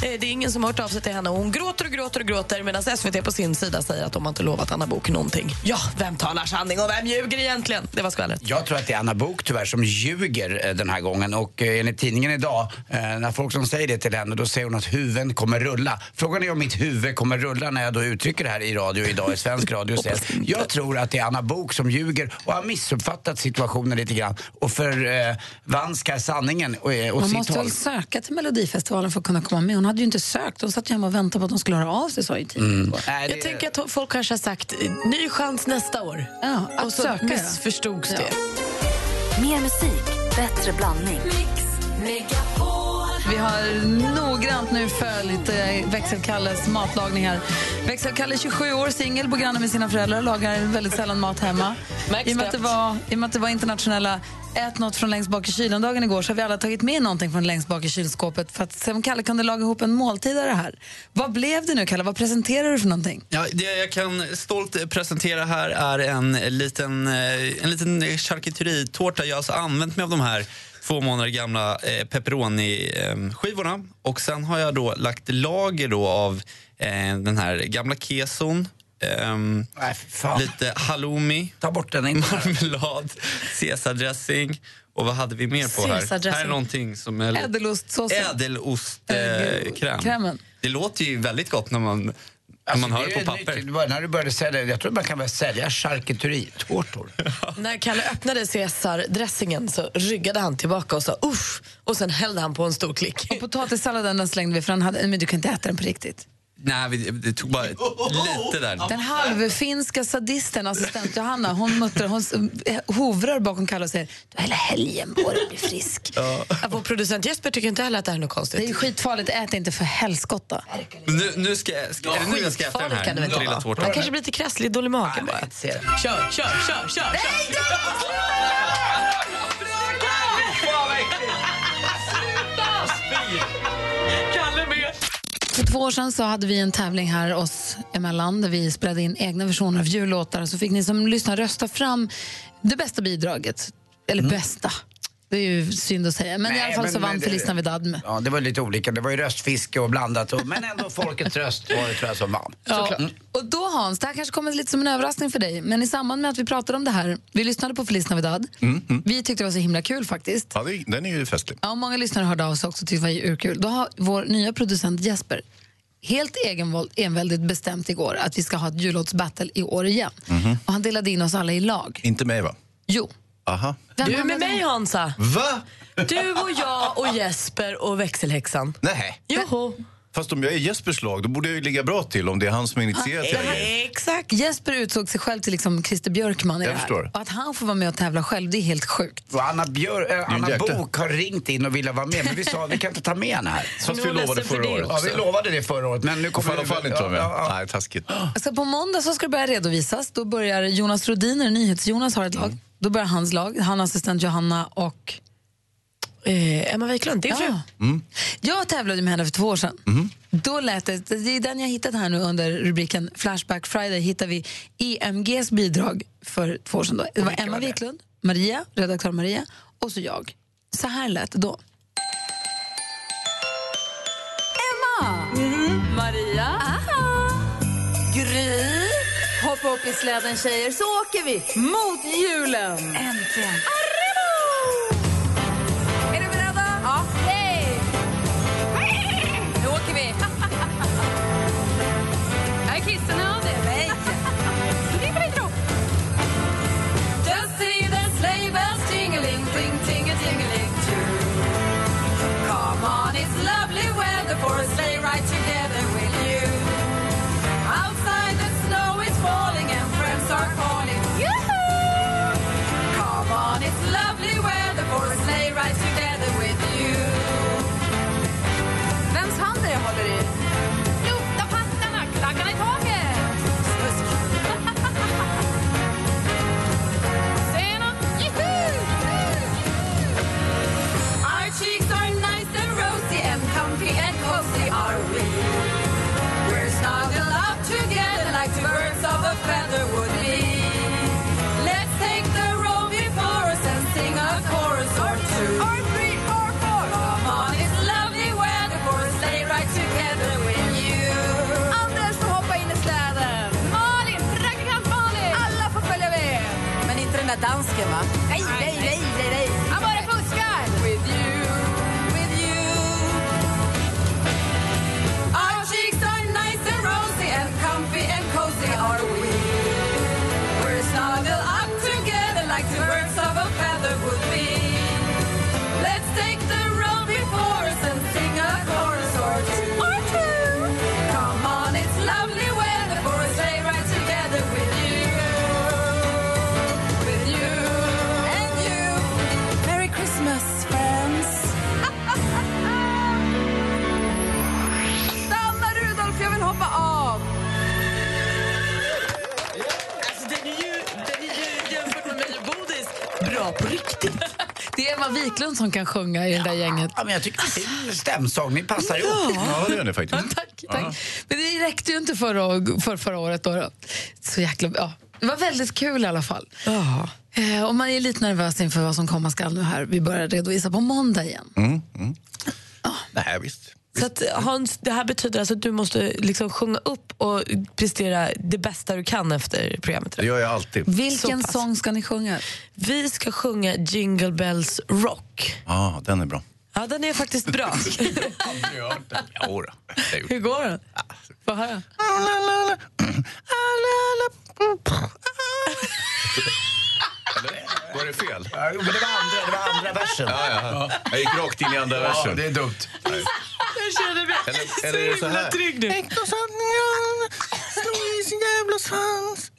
Speaker 3: det är ingen som har hört av sig till henne och hon gråter och gråter och gråter medan SVT på sin sida säger att de har inte lovat Anna Bok någonting. Ja, vem talar sanning och vem ljuger egentligen? Det var skvallret.
Speaker 2: Jag tror att det är Anna Bok tyvärr som ljuger eh, den här gången och eh, enligt tidningen idag, eh, när folk som säger det till henne, då säger hon att huvuden kommer rulla. Frågan är om mitt huvud kommer rulla när jag då uttrycker det här i radio idag, i svensk radio. och säger, jag tror att det är Anna Bok som ljuger och har missuppfattat situationen lite grann och förvanskar sanningen och, eh, åt
Speaker 1: Man
Speaker 2: sitt
Speaker 1: måste
Speaker 2: håll.
Speaker 1: väl söka till Melodifestivalen för att kunna komma med. Hon hade ju inte sökt. Hon satt ju hemma och väntade på att de skulle höra av sig. Så i tid.
Speaker 2: Mm. Nej,
Speaker 3: Jag
Speaker 2: det-
Speaker 3: tänker att folk kanske har sagt eh, ny chans nästa år.
Speaker 1: Ja, att
Speaker 3: och så
Speaker 1: söka, ja.
Speaker 3: missförstods det.
Speaker 6: Mer musik, bättre blandning.
Speaker 1: Vi har noggrant nu följt eh, Växelkalles matlagning här. Växelkalle är 27 år, singel, bor granne med sina föräldrar lagar väldigt sällan mat hemma.
Speaker 3: Märks
Speaker 1: I och, med att det
Speaker 3: knappt.
Speaker 1: var, I och med att det var internationella ät något från längst bak i kylen-dagen igår så har vi alla tagit med någonting från längst bak i kylskåpet för att se om Kalle kunde laga ihop en måltid av det här. Vad blev det nu, Kalle? Vad presenterar du för någonting?
Speaker 4: Ja, det jag kan stolt presentera här är en liten, eh, en liten charkuteritårta. Jag har alltså använt mig av de här två månader gamla eh, pepperoni-skivorna. Och sen har jag då lagt lager då av eh, den här gamla keson. ehm, lite halloumi.
Speaker 2: Ta bort den
Speaker 4: Marmelad, caesardressing. Och vad hade vi mer på här?
Speaker 1: Caesardressing.
Speaker 4: Här är någonting som är...
Speaker 1: Ädelostsåsen.
Speaker 4: Ädelostkräm.
Speaker 1: krämen.
Speaker 4: det låter ju väldigt gott när man, när man hör Alltså, typ. det på papper.
Speaker 2: när du började sälja, jag tror man kan börja sälja charkuteritårtor.
Speaker 3: När Kalle öppnade Caesar-dressingen så ryggade han tillbaka och sa uff och sen hällde han på en stor klick.
Speaker 1: Och potatissalladen den slängde vi för den hade, men du kan inte äta den på riktigt.
Speaker 4: Nej, vi, det tog bara lite där.
Speaker 1: Den halvfinska sadisten, assistent Johanna, hon muttrar, hon s- eh, hovrar bakom Kalle och säger du har hela helgen på dig att bli frisk.
Speaker 3: Vår producent Jesper tycker inte heller att det här är något konstigt.
Speaker 1: Det är ju skitfarligt, ät inte för helskotta.
Speaker 4: Nu, nu ska, jag- ska, är det nu jag ska äta den här?
Speaker 3: kan det väl inte
Speaker 4: lilla
Speaker 3: vara.
Speaker 4: tårtan.
Speaker 3: Han kanske blir lite krasslig, dålig i magen bara. Kör, kör, kör, kör! Nej, Kalle med!
Speaker 1: För två år sedan så hade vi en tävling här oss emellan där vi spelade in egna versioner av jullåtar. Så fick ni som lyssnar rösta fram det bästa bidraget. Eller bästa. Det är ju synd att säga. Men i
Speaker 2: Mm. Nej,
Speaker 1: alla fall så
Speaker 2: men-
Speaker 1: vann
Speaker 2: men-
Speaker 1: Feliz Navidad med.
Speaker 2: Ja, det var ju lite olika. Det var ju röstfiske och blandat. Och, men ändå folkets röst var det tror jag som vann.
Speaker 1: Ja. Och då Hans, det här kanske kommer lite som en överraskning för dig, men i samband med att vi pratade om det här, vi lyssnade på Feliz Navidad, vi tyckte det var så himla kul faktiskt.
Speaker 10: Mm-hmm. Ja, det, den är ju festlig.
Speaker 1: Ja, och många lyssnare hörde av sig också och tyckte det var urkul. Då har vår nya producent Jesper helt egenvåld, enväldigt bestämt igår att vi ska ha ett jullåtsbattle i år igen.
Speaker 10: Mhm.
Speaker 1: Och han delade in oss alla i lag.
Speaker 10: Inte mig, va?
Speaker 1: Jo.
Speaker 10: Aha.
Speaker 3: Du är med mig Hansa.
Speaker 10: Va?
Speaker 3: Du och jag och Jesper och växelhäxan.
Speaker 10: Nej.
Speaker 3: Joho.
Speaker 10: Fast om jag är Jespers lag, då borde jag ju ligga bra till om det är han som har initierat hela grejen.
Speaker 3: Exakt.
Speaker 1: Jesper utsåg sig själv till liksom Christer Björkman i
Speaker 10: Jag
Speaker 1: det här.
Speaker 10: förstår.
Speaker 1: Och att han får vara med och tävla själv, det är helt sjukt.
Speaker 2: Och Anna, Björ, eh,
Speaker 10: en
Speaker 2: Anna
Speaker 10: jäkla-
Speaker 2: Bok har ringt in och ville vara med, men vi sa vi kan inte ta med henne här.
Speaker 10: Fast vi lovade förra året.
Speaker 2: Ja, vi lovade det förra året, men nu
Speaker 10: Hon
Speaker 2: kommer
Speaker 10: får i alla fall inte vara med.
Speaker 2: Ja, ja,
Speaker 10: Nej, taskigt.
Speaker 1: Alltså på måndag så ska det börja redovisas. Då börjar Jonas Rodiner, NyhetsJonas, har ett lag. Då börjar hans lag. Han assistent Johanna och...
Speaker 3: Eh, Emma Wiklund, din fru.
Speaker 10: Mm,
Speaker 1: Jag tävlade med henne för två år sedan. Då lät det, det är den jag hittat här nu under rubriken Flashback Friday hittar vi EMGs bidrag för två år sedan. Då. Det var Emma Wiklund, Maria, redaktör Maria och så jag. Så här lät det då. Emma! Mm-hmm. Maria? Gry! Hoppa upp i släden tjejer så åker vi mot julen! Äntligen! Arrivo! Är ni beredda? Ja. Hej!
Speaker 11: där dansken va? Nej, nej, nej, nej, nej. Han bara fuskar! With you, with you Our cheeks are nice and rosy and comfy and cozy are we We're snuggled up together like two birds of a feather would be Let's take the road before us and sing a chorus or two Or two Come on, it's lovely weather for a sleigh ride together with you with you and you. Merry Christmas, friends. Stanna Rudolf, jag vill hoppa av.
Speaker 3: Alltså, den är ju, den är ju jämfört med mig och Bodis bra på riktigt.
Speaker 1: Det är Emma Wiklund som kan sjunga i det där gänget.
Speaker 2: Ja, men jag tycker att din stämsångning passar ihop.
Speaker 1: Ja,
Speaker 10: det gör ni faktiskt.
Speaker 1: tack, tack. Men det räckte ju inte förra, för förra året. Då. då. Så jäkla, ja. Det var väldigt kul i alla fall.
Speaker 3: Ja.
Speaker 1: Eh, och man är lite nervös inför vad som komma skall nu här. Vi börjar redovisa på måndag igen.
Speaker 10: Mm, mm. Nej, visst.
Speaker 3: Så att, Hans, det här betyder alltså att du måste liksom sjunga upp och prestera det bästa du kan efter programmet.
Speaker 10: Det gör jag alltid.
Speaker 1: Vilken sång ska ni sjunga?
Speaker 3: Vi ska sjunga Jingle Bells Rock.
Speaker 10: Ja, den är bra.
Speaker 3: Ja, den är faktiskt bra.
Speaker 10: Jodå, det är gjort.
Speaker 3: Hur går den? Få höra.
Speaker 10: Var det fel?
Speaker 2: Ja, men det var andra, det var andra versen.
Speaker 10: Ja, ja. Jag gick rakt in i andra
Speaker 2: Ja,
Speaker 10: versen.
Speaker 2: det
Speaker 10: är dumt.
Speaker 3: Jag känner mig
Speaker 10: Eller, eller är det så här?
Speaker 3: nu.
Speaker 11: Slå i sin jävla svans.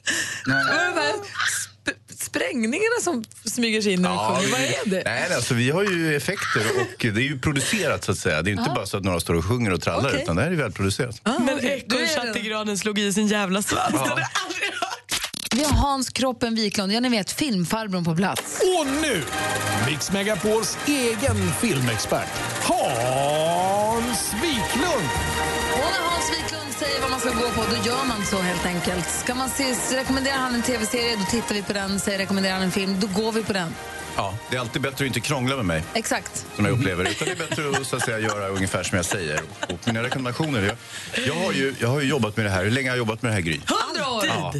Speaker 3: Vad är de här sp- sprängningarna som smyger sig in när vi sjunger? Vad är det?
Speaker 10: Nej, alltså, vi har ju effekter och det är ju producerat så att säga. Det är inte
Speaker 3: Ja.
Speaker 10: bara så att några står och sjunger och trallar
Speaker 3: Okej. Ah,
Speaker 10: utan det här är välproducerat.
Speaker 3: Men ekorrchattegranen slog i sin jävla svans.
Speaker 1: Vi har Hans Kroppen Wiklund, ja ni vet filmfarbrorn på plats.
Speaker 12: Och nu, Mix Megapols egen filmexpert, Hans Wiklund!
Speaker 1: Och när Hans Wiklund säger vad man ska gå på, då gör man så helt enkelt. Ska man se, rekommenderar han en tv-serie, då tittar vi på den. Säger rekommenderar han en film, då går vi på den.
Speaker 10: Ja, det är alltid bättre att inte krångla med mig.
Speaker 1: Exakt.
Speaker 10: som jag upplever det. Utan det är bättre att, så att säga, göra ungefär som jag säger. Och mina rekommendationer, jag, jag, har ju, jag har ju jobbat med det här. Hur länge har jag jobbat med det här, Gry?
Speaker 3: Hundra år!
Speaker 10: Ja,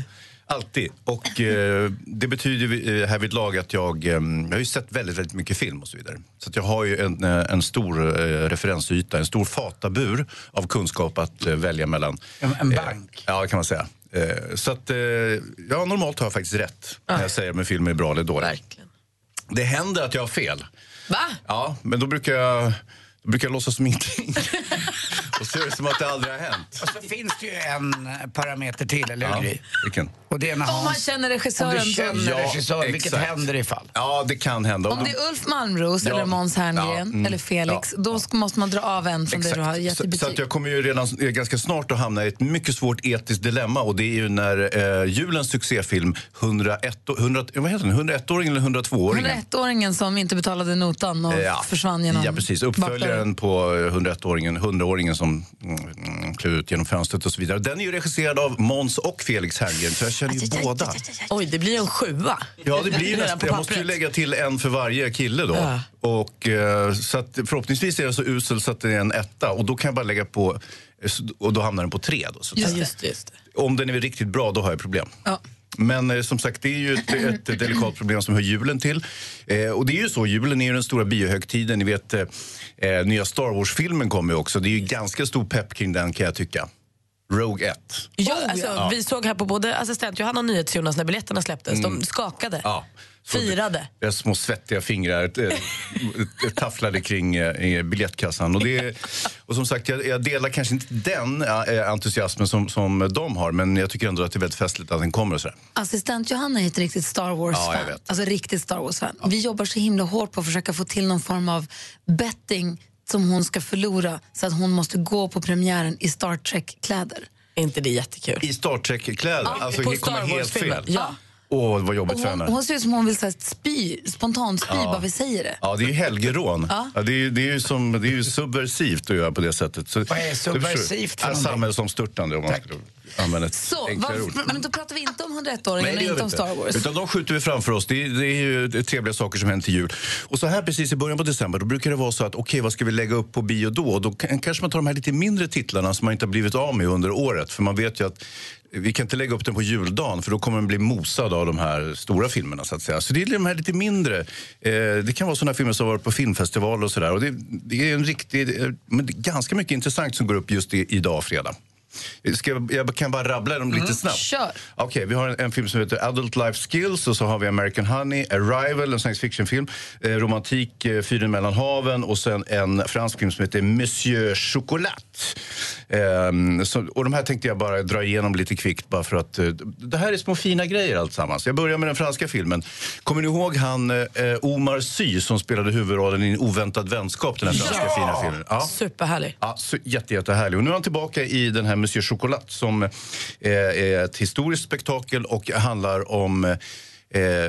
Speaker 10: alltid. Och eh, det betyder ju, eh, härvidlag att jag, eh, jag har ju sett väldigt, väldigt mycket film och så vidare. Så att jag har ju en, eh, en stor eh, referensyta, en stor fatabur av kunskap att eh, välja mellan. En, bank? Eh, ja, kan man säga. Eh, så att, eh, ja, normalt har jag faktiskt rätt när jag säger om en film är bra eller dålig. Det händer att jag har fel.
Speaker 3: Va?
Speaker 10: Ja, men då brukar jag, då brukar jag låtsas som ingenting. och så är det som att det aldrig har hänt.
Speaker 2: Och så finns det ju en eh, parameter till, eller hur? Gry?
Speaker 10: Vilken?
Speaker 2: Och det är när
Speaker 1: Om man
Speaker 2: Hans-
Speaker 1: känner regissören.
Speaker 2: Om du känner
Speaker 1: så-
Speaker 2: regissören, vilket
Speaker 10: exakt.
Speaker 2: händer ifall.
Speaker 10: Ja, det kan hända.
Speaker 1: Om det är Ulf Malmros
Speaker 10: Ja.
Speaker 1: eller Måns Herngren
Speaker 10: Ja, mm.
Speaker 1: eller Felix,
Speaker 10: Ja.
Speaker 1: då ska- måste man dra av en från det du har gett i
Speaker 10: så, så att
Speaker 1: betyg.
Speaker 10: jag kommer ju redan eh, ganska snart att hamna i ett mycket svårt etiskt dilemma och det är ju när eh, julens succéfilm 101, och- 100, eh, vad heter den? 101-åringen eller 102-åringen?
Speaker 1: 101-åringen som inte betalade notan och
Speaker 10: Eh, ja.
Speaker 1: försvann genom...
Speaker 10: Ja, precis. Uppföljaren på eh, 101-åringen, 100-åringen som mm, mm, klev ut genom fönstret och så vidare. Den är ju regisserad av Måns och Felix Herngren, så jag känner ju båda.
Speaker 3: Oj, det blir en sjua.
Speaker 10: Ja, det blir ju
Speaker 3: Redan
Speaker 10: nästan.
Speaker 3: på
Speaker 10: Jag måste ju
Speaker 3: pappret.
Speaker 10: lägga till en för varje kille då.
Speaker 3: Ja.
Speaker 10: Och, eh, så att förhoppningsvis är jag så usel så att det är en etta. Och då kan jag bara lägga på, och då hamnar den på tre. Då, så att
Speaker 3: Just
Speaker 10: säga.
Speaker 3: det. Just det, just det.
Speaker 10: Om den är riktigt bra, då har jag problem.
Speaker 1: Ja.
Speaker 10: Men eh, som sagt, det är ju ett, ett delikat problem som hör julen till. Eh, och det är ju så, julen är ju den stora biohögtiden. Ni vet, eh, eh, nya Star Wars-filmen kommer ju också. Det är ju ganska stor pepp kring den kan jag tycka. Rogue 1.
Speaker 3: Ja, alltså,
Speaker 10: Oh, ja.
Speaker 3: Vi såg här på både assistent Johanna och NyhetsJonas när biljetterna släpptes.
Speaker 10: Mm.
Speaker 3: De skakade,
Speaker 10: Ja.
Speaker 3: firade.
Speaker 10: Jag har små svettiga fingrar eh, eh, tafflade kring eh, biljettkassan. Och, det, och som sagt, jag, jag delar kanske inte den eh, entusiasmen som, som de har men jag tycker ändå att det är väldigt festligt att den kommer. Och sådär.
Speaker 1: Assistent Johanna är ett riktigt Star
Speaker 10: Ja, jag
Speaker 1: Wars-fan.
Speaker 10: vet.
Speaker 1: alltså riktigt Star Wars-fan. Vi jobbar så himla hårt på att försöka få till någon form av betting som hon ska förlora så att hon måste gå på premiären i Star Trek-kläder.
Speaker 3: Är inte det jättekul?
Speaker 10: I Star Trek-kläder?
Speaker 1: Ja,
Speaker 10: alltså,
Speaker 1: på
Speaker 10: det kommer
Speaker 1: Star
Speaker 10: helt
Speaker 1: Wars-filmen,
Speaker 10: fel.
Speaker 1: ja.
Speaker 10: Åh, vad jobbigt
Speaker 1: Och
Speaker 10: för
Speaker 1: hon,
Speaker 10: henne.
Speaker 1: hon ser ut som hon vill så här, spy, spontant spy
Speaker 10: Ja.
Speaker 1: bara vi säger det.
Speaker 10: Ja, det är ju helgerån.
Speaker 1: Ja.
Speaker 10: Ja. det, är, ju- det, är ju som, det är ju subversivt att göra på det sättet. Så,
Speaker 2: Vad är subversivt för
Speaker 10: för
Speaker 2: någonting?
Speaker 10: Samhällsomstörtande. Om man skulle använda ett
Speaker 1: Så,
Speaker 10: enklare ord.
Speaker 1: vad, men då pratar vi inte om
Speaker 10: Nej,
Speaker 1: 101-åringen och
Speaker 10: det gör
Speaker 1: inte
Speaker 10: vi
Speaker 1: om Star Wars.
Speaker 10: Utan de skjuter vi framför oss. Det är, det är ju det trevliga saker som händer till jul. Och så här precis i början på december, då brukar det vara så att okej, vad ska vi lägga upp på bio då? Och Då kan- kanske man tar de här lite mindre titlarna som man inte har blivit av med under året. För man vet ju att vi kan inte lägga upp den på juldagen för då kommer den bli mosad av de här stora filmerna. Så att säga. Så det är de här lite mindre. Eh, det kan vara sådana filmer som har varit på filmfestival och sådär. Och det, det är en riktig, eh, men det är ganska mycket intressant som går upp just i, idag, fredag. Ska jag, jag kan bara rabbla dem lite snabbt.
Speaker 1: Kör.
Speaker 10: Okej, vi har en, en film som heter Adult Life Skills och så har vi American Honey, Arrival, en science fiction-film, eh, romantik, eh, Fyren mellan haven och sen en fransk film som heter Monsieur Chocolat. Ehm, så, och de här tänkte jag bara dra igenom lite kvickt bara för att eh, det här är små fina grejer alltsammans. Jag börjar med den franska filmen. Kommer ni ihåg han eh, Omar Sy som spelade huvudrollen i En oväntad vänskap, den här franska fina filmen? Ja.
Speaker 3: Superhärlig.
Speaker 10: Ja, så jätte, jättehärlig. Och nu är han tillbaka i den här Monsieur Chocolat som eh, är ett historiskt spektakel och handlar om eh,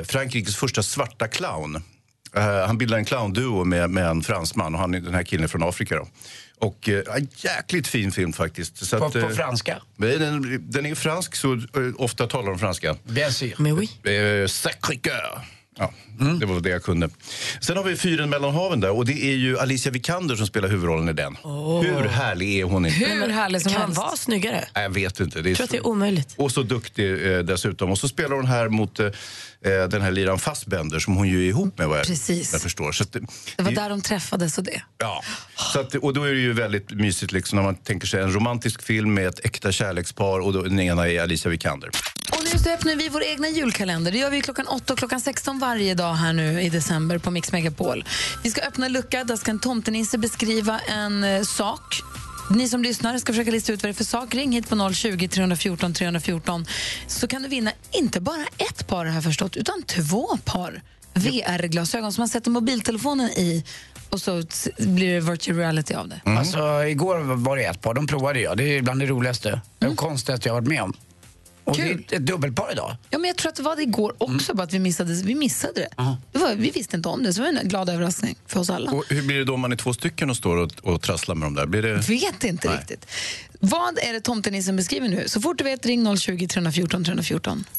Speaker 10: Frankrikes första svarta clown. Eh, han bildar en clownduo med, med en fransman och han är den här killen från Afrika. Då. Och eh, en jäkligt fin film faktiskt. Så
Speaker 2: På,
Speaker 10: att, eh,
Speaker 2: på franska.
Speaker 10: Nej, Den, den är fransk så eh, ofta talar de franska.
Speaker 2: Bien sûr.
Speaker 3: Mais oui.
Speaker 10: Eh, Sacré-Cœur. Ja, Det var det jag kunde. Sen har vi Fyren mellan haven där och det är ju Alicia Vikander som spelar huvudrollen i den.
Speaker 3: Åh.
Speaker 10: Hur härlig är hon inte?
Speaker 3: Hur härlig som
Speaker 10: Kan
Speaker 3: helst. vara snyggare?
Speaker 10: Nej, Jag vet inte. Det är
Speaker 3: Jag tror att det är
Speaker 10: så-
Speaker 3: omöjligt.
Speaker 10: Och så duktig eh, dessutom. Och så spelar hon här mot eh, eh, den här liran Fassbender som hon ju är ihop med vad jag,
Speaker 1: Precis.
Speaker 10: jag förstår. Så att, det-
Speaker 1: Det var
Speaker 10: det-
Speaker 1: där de träffades och det.
Speaker 10: Ja, så att, och då är det ju väldigt mysigt liksom, när man tänker sig en romantisk film med ett äkta kärlekspar och då, den ena är Alicia Vikander.
Speaker 1: Och nu så öppnar vi vår egna julkalender. Det gör vi klockan 8 och klockan 16 varje dag här nu i december på Mix Megapol. Vi ska öppna en lucka, där ska en tomtenisse beskriva en eh, sak. Ni som lyssnar ska försöka lista ut vad det är för sak. Ring hit på 020 314 314 så kan du vinna inte bara ett par har jag förstått, utan två par VR-glasögon som man sätter mobiltelefonen i och så s- blir det virtual reality av det.
Speaker 2: Alltså, igår var det ett par, de provade jag. Det är bland det roligaste och konstigaste jag har varit med om. Och det är ett dubbelpar idag.
Speaker 1: Ja, men jag tror att det var det igår
Speaker 10: Mm.
Speaker 1: också, bara att vi missade, vi missade det. det var, vi visste inte om det, så det var en glad överraskning för oss alla.
Speaker 10: Och hur blir det då om man är två stycken och står och, och trasslar med dem där? Blir det...
Speaker 1: Vet inte
Speaker 10: Nej.
Speaker 1: riktigt. Vad är det tomtenissen beskriver nu? Så fort du vet, ring 020 314 314.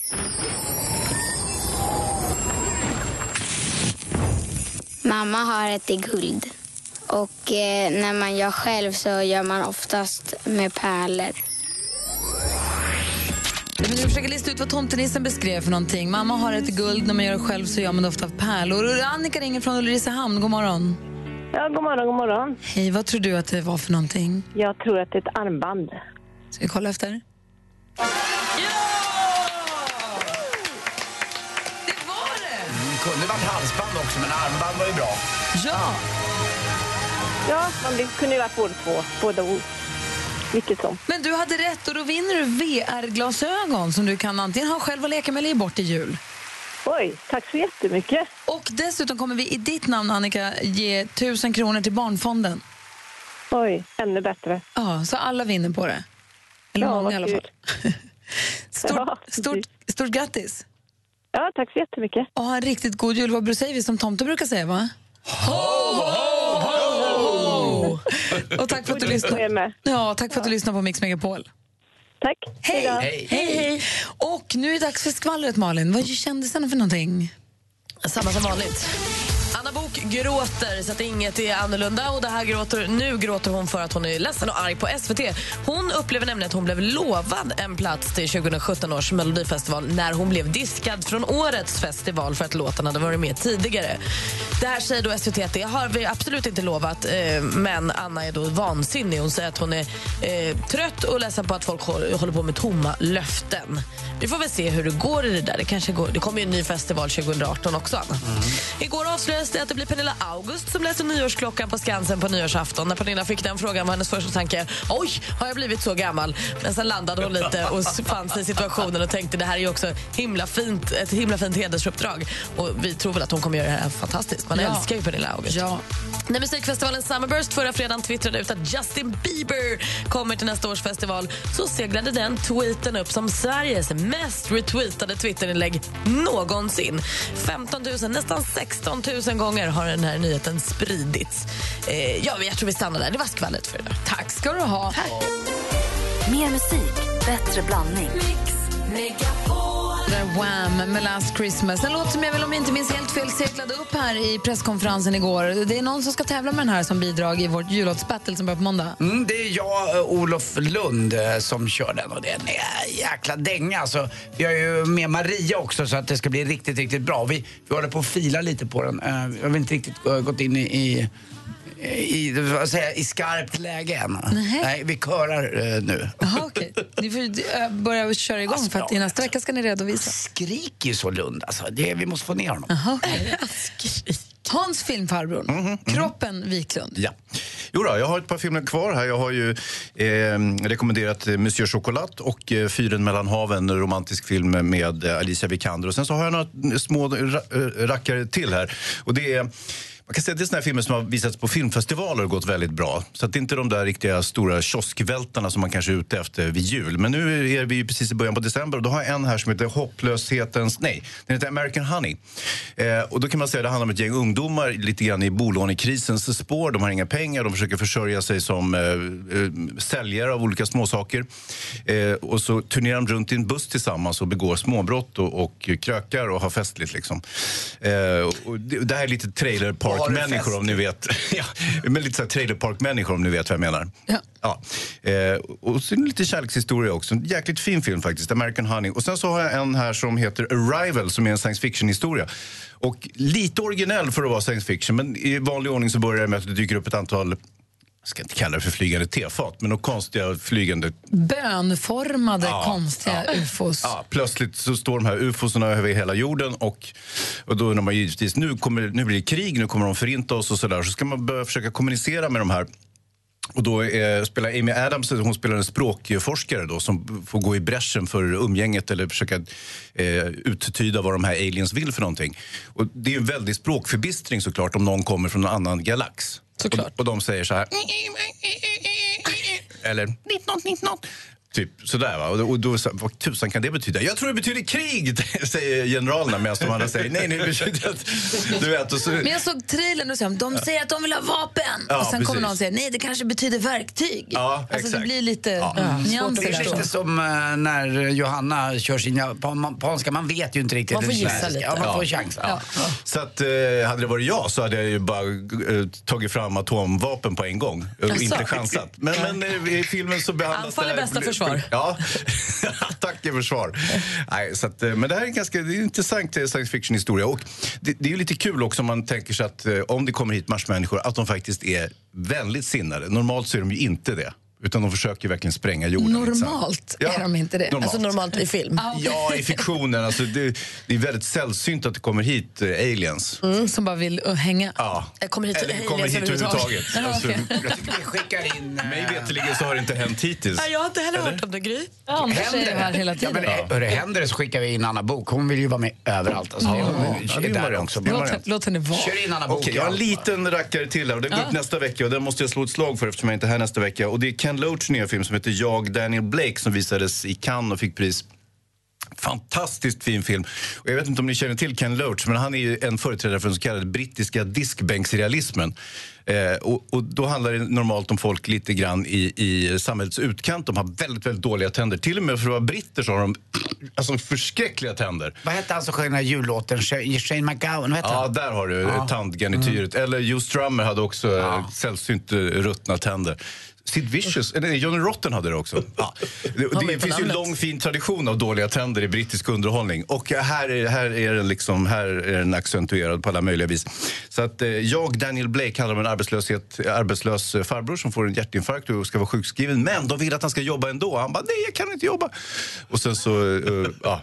Speaker 13: Mamma har ett i guld. Och eh, när man gör själv så gör man oftast med pärlor.
Speaker 1: Ja, men du försöker lista ut vad tomtenissen beskrev för någonting. Mamma har ett guld, när man gör det själv så gör man det ofta av pärlor. Och Annika ringer från Ulricehamn, god morgon.
Speaker 14: Ja, god morgon, god morgon.
Speaker 1: Hej, vad tror du att det var för någonting?
Speaker 14: Jag tror att det är ett armband.
Speaker 1: Ska vi kolla efter?
Speaker 2: Mm, kunde varit halsband också, men armband var ju bra.
Speaker 1: Ja!
Speaker 14: Ja, men det kunde ju varit både två, båda ord. Vilket som.
Speaker 1: Men du hade rätt och då vinner du VR-glasögon som du kan antingen ha själv och leka med eller ge bort i jul.
Speaker 14: Oj, tack så jättemycket.
Speaker 1: Och dessutom kommer vi i ditt namn, Annika, ge 1000 kronor till Barnfonden.
Speaker 14: Oj, ännu bättre.
Speaker 1: Ja, så alla vinner på det. Eller
Speaker 14: Ja,
Speaker 1: många
Speaker 14: vad
Speaker 1: i alla
Speaker 14: kul.
Speaker 1: fall. Stort, stort, stort grattis!
Speaker 14: Ja, tack så jättemycket.
Speaker 1: Och ha en riktigt god jul. Vad säger vi som tomten brukar säga, va?
Speaker 15: Oh.
Speaker 1: Och tack för att du
Speaker 14: God jul på er
Speaker 1: lyssnar. Ja, tack för att du lyssnar på Mix Megapol.
Speaker 14: Tack.
Speaker 1: Hej!
Speaker 14: Hej
Speaker 1: Hej, hej! Och nu är det dags för skvallret, Malin. Vad är kändisarna för någonting?
Speaker 3: Samma som vanligt. Anna Bok gråter så att inget är annorlunda och det här gråter, nu gråter hon för att hon är ledsen och arg på SVT. Hon upplever nämligen att hon blev lovad en plats till 2017 års melodifestival när hon blev diskad från årets festival för att låten hade varit med tidigare. Det här säger då SVT att det har vi absolut inte lovat eh, men Anna är då vansinnig. Hon säger att hon är eh, trött och ledsen på att folk hå- håller på med tomma löften. Vi får väl se hur det går i det där. Det, kanske går, det kommer ju en ny festival 2018 också. Anna. Igår avslöjades det att det blir Pernilla August som läser nyårsklockan på Skansen på nyårsafton. När Pernilla fick den frågan var hennes första tanke oj, har jag blivit så gammal? Men sen landade hon lite och fann sig i situationen och tänkte det här är ju också himla fint, ett himla fint hedersuppdrag. Och vi tror väl att hon kommer göra det här fantastiskt. Man
Speaker 1: Ja.
Speaker 3: älskar ju Pernilla August.
Speaker 1: Ja.
Speaker 3: När musikfestivalen Summerburst förra fredagen twittrade ut att Justin Bieber kommer till nästa års festival så seglade den tweeten upp som Sveriges mest retweetade twitterinlägg någonsin. 15 000, nästan 16 000 gånger har den här nyheten spridits. Eh, ja, jag tror vi stannar där. Det var skvallret för idag.
Speaker 1: Tack ska du ha.
Speaker 6: Mer musik, bättre blandning.
Speaker 1: Det där Wham! med Last Christmas. En låt som jag väl om jag inte minns helt fel cirklade upp här i presskonferensen igår. Det är någon som ska tävla med den här som bidrag i vårt jullåtsbattle som börjar på måndag.
Speaker 2: Mm, det är jag, eh, Olof Lund, eh, som kör den och den är en jäkla dänga. Alltså, vi har ju med Maria också så att det ska bli riktigt, riktigt bra. Vi, vi håller på att fila lite på den. Eh, Vi har väl inte riktigt eh, gått in i, i, i, vad säger jag, i skarpt läge än.
Speaker 1: Nej.
Speaker 2: vi körar eh, nu.
Speaker 1: Jaha, okej. Ni får eh, börja köra igång
Speaker 10: Alltså,
Speaker 1: för att i nästa vecka ska ni redovisa.
Speaker 2: Skrik ju så Lund alltså. Det, vi måste få ner honom.
Speaker 1: Jaha, okej. Hans filmfarbror,
Speaker 10: Mhm,
Speaker 1: Kroppen Wiklund.
Speaker 10: Ja. Jo då, jag har ett par filmer kvar här. Jag har ju eh, rekommenderat eh, Monsieur Chocolat och eh, Fyren mellan haven, en romantisk film med eh, Alicia Vikander. Och sen så har jag några små ra- eh, rackare till här. Och det är... Man kan säga att det är såna här filmer som har visats på filmfestivaler och gått väldigt bra. Så att det är inte de där riktiga stora kioskvältarna som man kanske är ute efter vid jul. Men nu är vi ju precis i början på december och då har jag en här som heter Hopplöshetens... Nej, den heter American Honey. Eh, och då kan man säga att det handlar om ett gäng ungdomar lite grann i bolånekrisens spår. De har inga pengar, de försöker försörja sig som eh, eh, säljare av olika småsaker. Eh, och så turnerar de runt i en buss tillsammans och begår småbrott och, och krökar och har festligt liksom. Eh, och- och det, det här är lite trailer
Speaker 2: Har du
Speaker 10: park-människor om ni vet. ja, men lite så här trailer park-människor om ni vet vad jag menar. Ja. Eh, och så är det lite kärlekshistoria också. En jäkligt fin film faktiskt, American Honey. Och sen så har jag en här som heter Arrival som är en science fiction-historia. Och lite originell för att vara science fiction, men i vanlig ordning så börjar det med att det dyker upp ett antal jag ska inte kalla det för flygande tefat, men några konstiga flygande
Speaker 1: Bönformade,
Speaker 10: Ja,
Speaker 1: konstiga ufos.
Speaker 10: Ja, plötsligt så står de här ufosarna över hela jorden och, och då undrar man givetvis, nu, kommer, nu blir det krig, nu kommer de förinta oss och sådär. Så ska man börja försöka kommunicera med de här. Och då eh, spelar Amy Adams, hon spelar en språkforskare då som får gå i bräschen för umgänget eller försöka eh, uttyda vad de här aliens vill för någonting. Och det är ju en väldig språkförbistring såklart om någon kommer från en annan galax. Såklart. Och, och de säger så här, eller Nitt nåt, nitt nåt. Typ sådär va. Och då, och då, sa- vad tusan kan det betyda? Jag tror det betyder krig, säger generalerna medan de andra säger nej, nej, det betyder att... Du vet, och så,
Speaker 1: Men jag såg trailern och så, här, de säger att de vill ha vapen.
Speaker 10: Ja,
Speaker 1: och sen kommer
Speaker 10: precis.
Speaker 1: någon och säger, nej det kanske betyder verktyg.
Speaker 10: Ja,
Speaker 1: alltså det
Speaker 10: exakt. Mm.
Speaker 1: blir lite ja.
Speaker 2: Det
Speaker 1: Mm. nyanser
Speaker 2: är
Speaker 1: där.
Speaker 2: lite som eh, när Johanna kör sin japan- japanska. Man vet ju inte riktigt.
Speaker 1: Man får
Speaker 2: det
Speaker 1: gissa
Speaker 2: kinesiska.
Speaker 1: lite.
Speaker 2: Ja, man får
Speaker 10: Ja.
Speaker 2: chans.
Speaker 10: Ja. Så att, eh, hade det varit jag så hade jag ju bara eh, tagit fram atomvapen på en gång och
Speaker 1: Alltså,
Speaker 11: Jaså?
Speaker 10: inte chansat. Men, men eh, i filmen så behandlas
Speaker 11: Anfall är
Speaker 10: det här-
Speaker 11: bästa försvar.
Speaker 10: Ja, attack är försvar. Nej, så att, eh, men det här är en ganska det är en intressant eh, science fiction-historia. Och det, det är ju lite kul också om man tänker sig att eh, om det kommer hit marsmänniskor att de faktiskt är vänligt sinnade. Normalt så är de ju inte det. Utan de försöker ju verkligen spränga jorden. inte sant?
Speaker 1: Normalt är de inte det.
Speaker 10: normalt. Alltså
Speaker 1: normalt i film.
Speaker 10: Ja, i fiktionen. Alltså, det, det är väldigt sällsynt att det kommer hit eh, aliens.
Speaker 1: Som bara vill uh, hänga.
Speaker 10: Ja.
Speaker 1: Jag kommer hit,
Speaker 10: Eller kommer hit överhuvudtaget. Alltså, jag tycker
Speaker 2: vi skickar in...
Speaker 10: Mig veterligen så har det inte hänt hittills.
Speaker 3: Nej, jag har inte heller hört om det, Gry.
Speaker 2: Händer Ja,
Speaker 10: eh,
Speaker 2: men, hörru, händer det så skickar vi in Anna Bok. Hon vill ju vara med överallt. Alltså,
Speaker 10: Ja,
Speaker 2: hon
Speaker 10: ja,
Speaker 2: är
Speaker 10: det är
Speaker 2: där
Speaker 10: variant.
Speaker 2: också.
Speaker 10: Det är variant.
Speaker 1: Låt henne vara.
Speaker 2: Kör in Anna Bok.
Speaker 10: Okej, jag har en liten rackare till här. Och den går
Speaker 2: Ja.
Speaker 10: upp nästa vecka och den måste jag slå ett slag för eftersom jag inte är här nästa vecka. Och det är Ken Loachs nya film som heter Jag, Daniel Blake som visades i Cannes och fick pris. Fantastiskt fin film. Och jag vet inte om ni känner till Ken Loach, men han är ju en företrädare för den så kallade brittiska diskbänksrealismen. Eh, och, och då handlar det normalt om folk lite grann i, i samhällets utkant. De har väldigt, väldigt dåliga tänder. Till och med för att vara britter så har de alltså, förskräckliga tänder.
Speaker 2: Vad hette han som sjöng den här jullåten? Shane Shane McGowan? Vad hette
Speaker 10: Ja,
Speaker 2: han?
Speaker 10: där har du
Speaker 2: Ja.
Speaker 10: tandgarnityret. Eller Joe Strummer hade också ja. sällsynt eh, ruttna tänder. Sid Vicious, eller nej, Johnny Rotten hade det också. Ja. Det,
Speaker 11: Han var ju
Speaker 10: det
Speaker 11: på
Speaker 10: finns ju en
Speaker 11: namnet.
Speaker 10: lång fin tradition av dåliga tänder i brittisk underhållning. Och eh, här är, här är, den, liksom, här är den accentuerad på alla möjliga vis. Så att eh, jag, Daniel Blake, handlar om en arbetslöshet, arbetslös eh, farbror som får en hjärtinfarkt och ska vara sjukskriven. Men de vill att han ska jobba ändå. Han bara, nej jag kan inte jobba. Och sen så, eh, ja,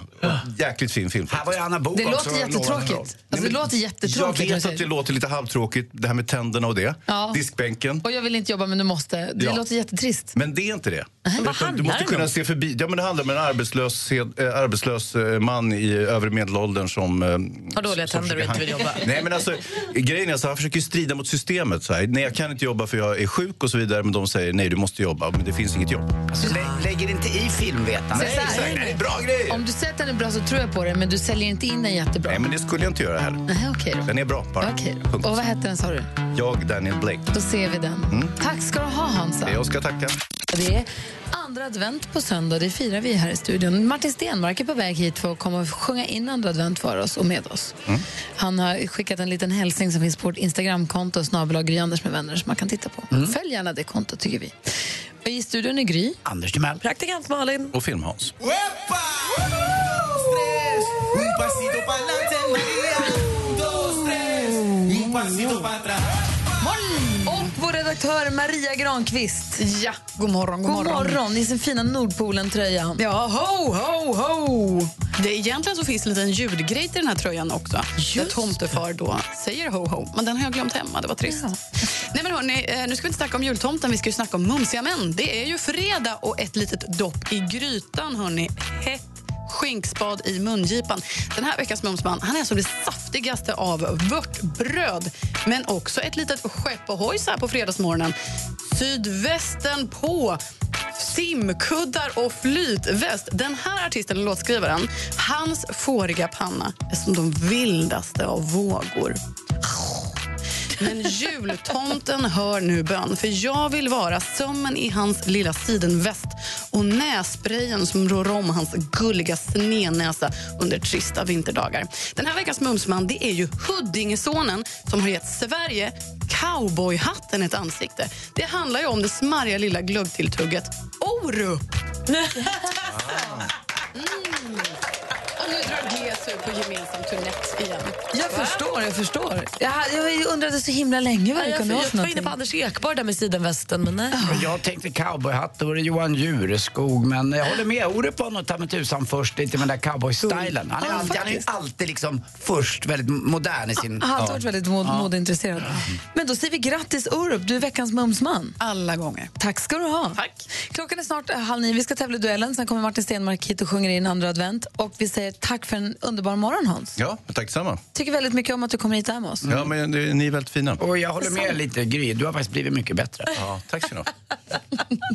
Speaker 10: jäkligt fin film. Här
Speaker 2: var ju Anna Book
Speaker 1: Det låter jättetråkigt. Alltså, det låter jättetråkigt.
Speaker 10: jag
Speaker 1: när du
Speaker 10: vet
Speaker 1: säger
Speaker 10: att det låter lite halvtråkigt, det här med tänderna och det.
Speaker 1: Ja.
Speaker 10: Diskbänken.
Speaker 1: Och jag vill inte jobba men du måste. Det
Speaker 10: Ja.
Speaker 1: låter jättetrist.
Speaker 10: Men det är inte det.
Speaker 1: Nej, vad
Speaker 10: Utan
Speaker 1: handlar
Speaker 10: du måste
Speaker 1: den om?
Speaker 10: kunna se förbi. Ja, men det handlar om en arbetslös, eh, arbetslös eh, man i övre medelåldern som... eh,
Speaker 3: Har dåliga
Speaker 10: som
Speaker 3: tänder och
Speaker 10: försöker
Speaker 3: inte vill
Speaker 10: hang-
Speaker 3: jobba.
Speaker 10: Nej, men alltså, grejen är så han försöker ju strida mot systemet. Så här. Nej, jag kan inte jobba för jag är sjuk och så vidare. Men de säger nej, du måste jobba. Men det finns inget jobb.
Speaker 2: Alltså, lä lägger inte i filmvetande.
Speaker 1: Så här, Om du säger att den är bra så tror jag på det, men du säljer inte in den jättebra.
Speaker 10: Nej, men det skulle jag inte göra heller.
Speaker 1: Nej, okej då.
Speaker 10: Den är bra bara.
Speaker 1: Okej då.
Speaker 10: Punkt.
Speaker 1: Och vad hette den sa du?
Speaker 10: Jag, Daniel Blake. Mm.
Speaker 1: Då ser vi den. Tack ska du ha Hansa.
Speaker 10: Jag ska tacka.
Speaker 1: Det är andra andra advent på söndag. Det firar vi här i studion. Martin Stenmark är på väg hit för att komma och sjunga in andra advent för oss och med oss. Han har skickat en liten hälsning som finns på vårt Instagramkonto, snabel-a Gry Anders med vänner, som man kan titta på.
Speaker 2: Mm.
Speaker 1: Följ gärna det kontot, tycker vi. Och I studion är Gry.
Speaker 2: Anders Timell.
Speaker 1: Praktikant Malin.
Speaker 10: Och Film-Hans.
Speaker 11: ¡Uepa! Dos, tres, un pasito para adelante, María. Dos, tres, un pasito para atrás.
Speaker 1: Och vår redaktör Maria Granqvist. Ja, god morgon. God,
Speaker 16: god morgon.
Speaker 1: morgon i sin fina Nordpolen-tröja. Ja, ho, ho, ho!
Speaker 16: Det, egentligen så finns det en liten ljudgrej i den här tröjan också. där tomtefar då säger ho, ho. Men den har jag glömt hemma. Det var trist. Nej, men hörni, eh, nu ska vi inte snacka om jultomten, vi ska ju snacka om mumsiga män. Det är ju fredag och ett litet dopp i grytan, hörni. Hett skinkspad i mungipan. Den här veckans mumsman han är som det saftigaste av vörtbröd men också ett litet skepp och hoj så här på fredagsmorgonen. Sydvästen på, simkuddar och flytväst. Den här artisten, låtskrivaren, hans fåriga panna är som de vildaste av vågor. Men jultomten hör nu bön, för jag vill vara sömmen i hans lilla sidenväst och nässprayen som rår om hans gulliga snednäsa under trista vinterdagar. Den här veckans mumsman det är ju Huddingesonen som har gett Sverige cowboyhatten ett ansikte. Det handlar ju om det smarriga lilla glöggtilltugget Orup. Mm. Och nu drar GES ut på gemensam turnett igen.
Speaker 1: Jag förstår, jag förstår. Jag, jag undrade så himla länge vad det
Speaker 3: Jag,
Speaker 1: kunde vara
Speaker 3: jag
Speaker 1: för
Speaker 3: var inne
Speaker 1: någonting.
Speaker 3: på Anders Ekborg där med sidenvästen, men nej.
Speaker 2: Men Jag tänkte cowboyhatt, då var det Johan Jureskog. Men jag håller med Orup var nog ta mig tusan först lite med den där cowboystylen. Han är,
Speaker 1: Ja,
Speaker 2: alltid, han är ju
Speaker 1: faktiskt.
Speaker 2: alltid liksom först, väldigt modern i sin...
Speaker 1: Han har alltid varit väldigt mod- modeintresserad. Men då säger vi grattis Orup, du är veckans mumsman.
Speaker 16: Alla gånger.
Speaker 1: Tack ska du ha. Tack. Klockan är snart eh, halv nio, vi ska tävla i duellen. Sen kommer Martin Stenmark hit och sjunger in andra advent. Och vi säger tack för en underbar morgon Hans.
Speaker 10: Ja, men tack samma.
Speaker 1: Tycker väldigt mycket om att du kommer hit hem med oss.
Speaker 10: Mm. Ja, men det, ni är väldigt fina.
Speaker 2: Och jag håller med lite Gry, du har faktiskt blivit mycket bättre.
Speaker 10: Ja, tack ska ni ha.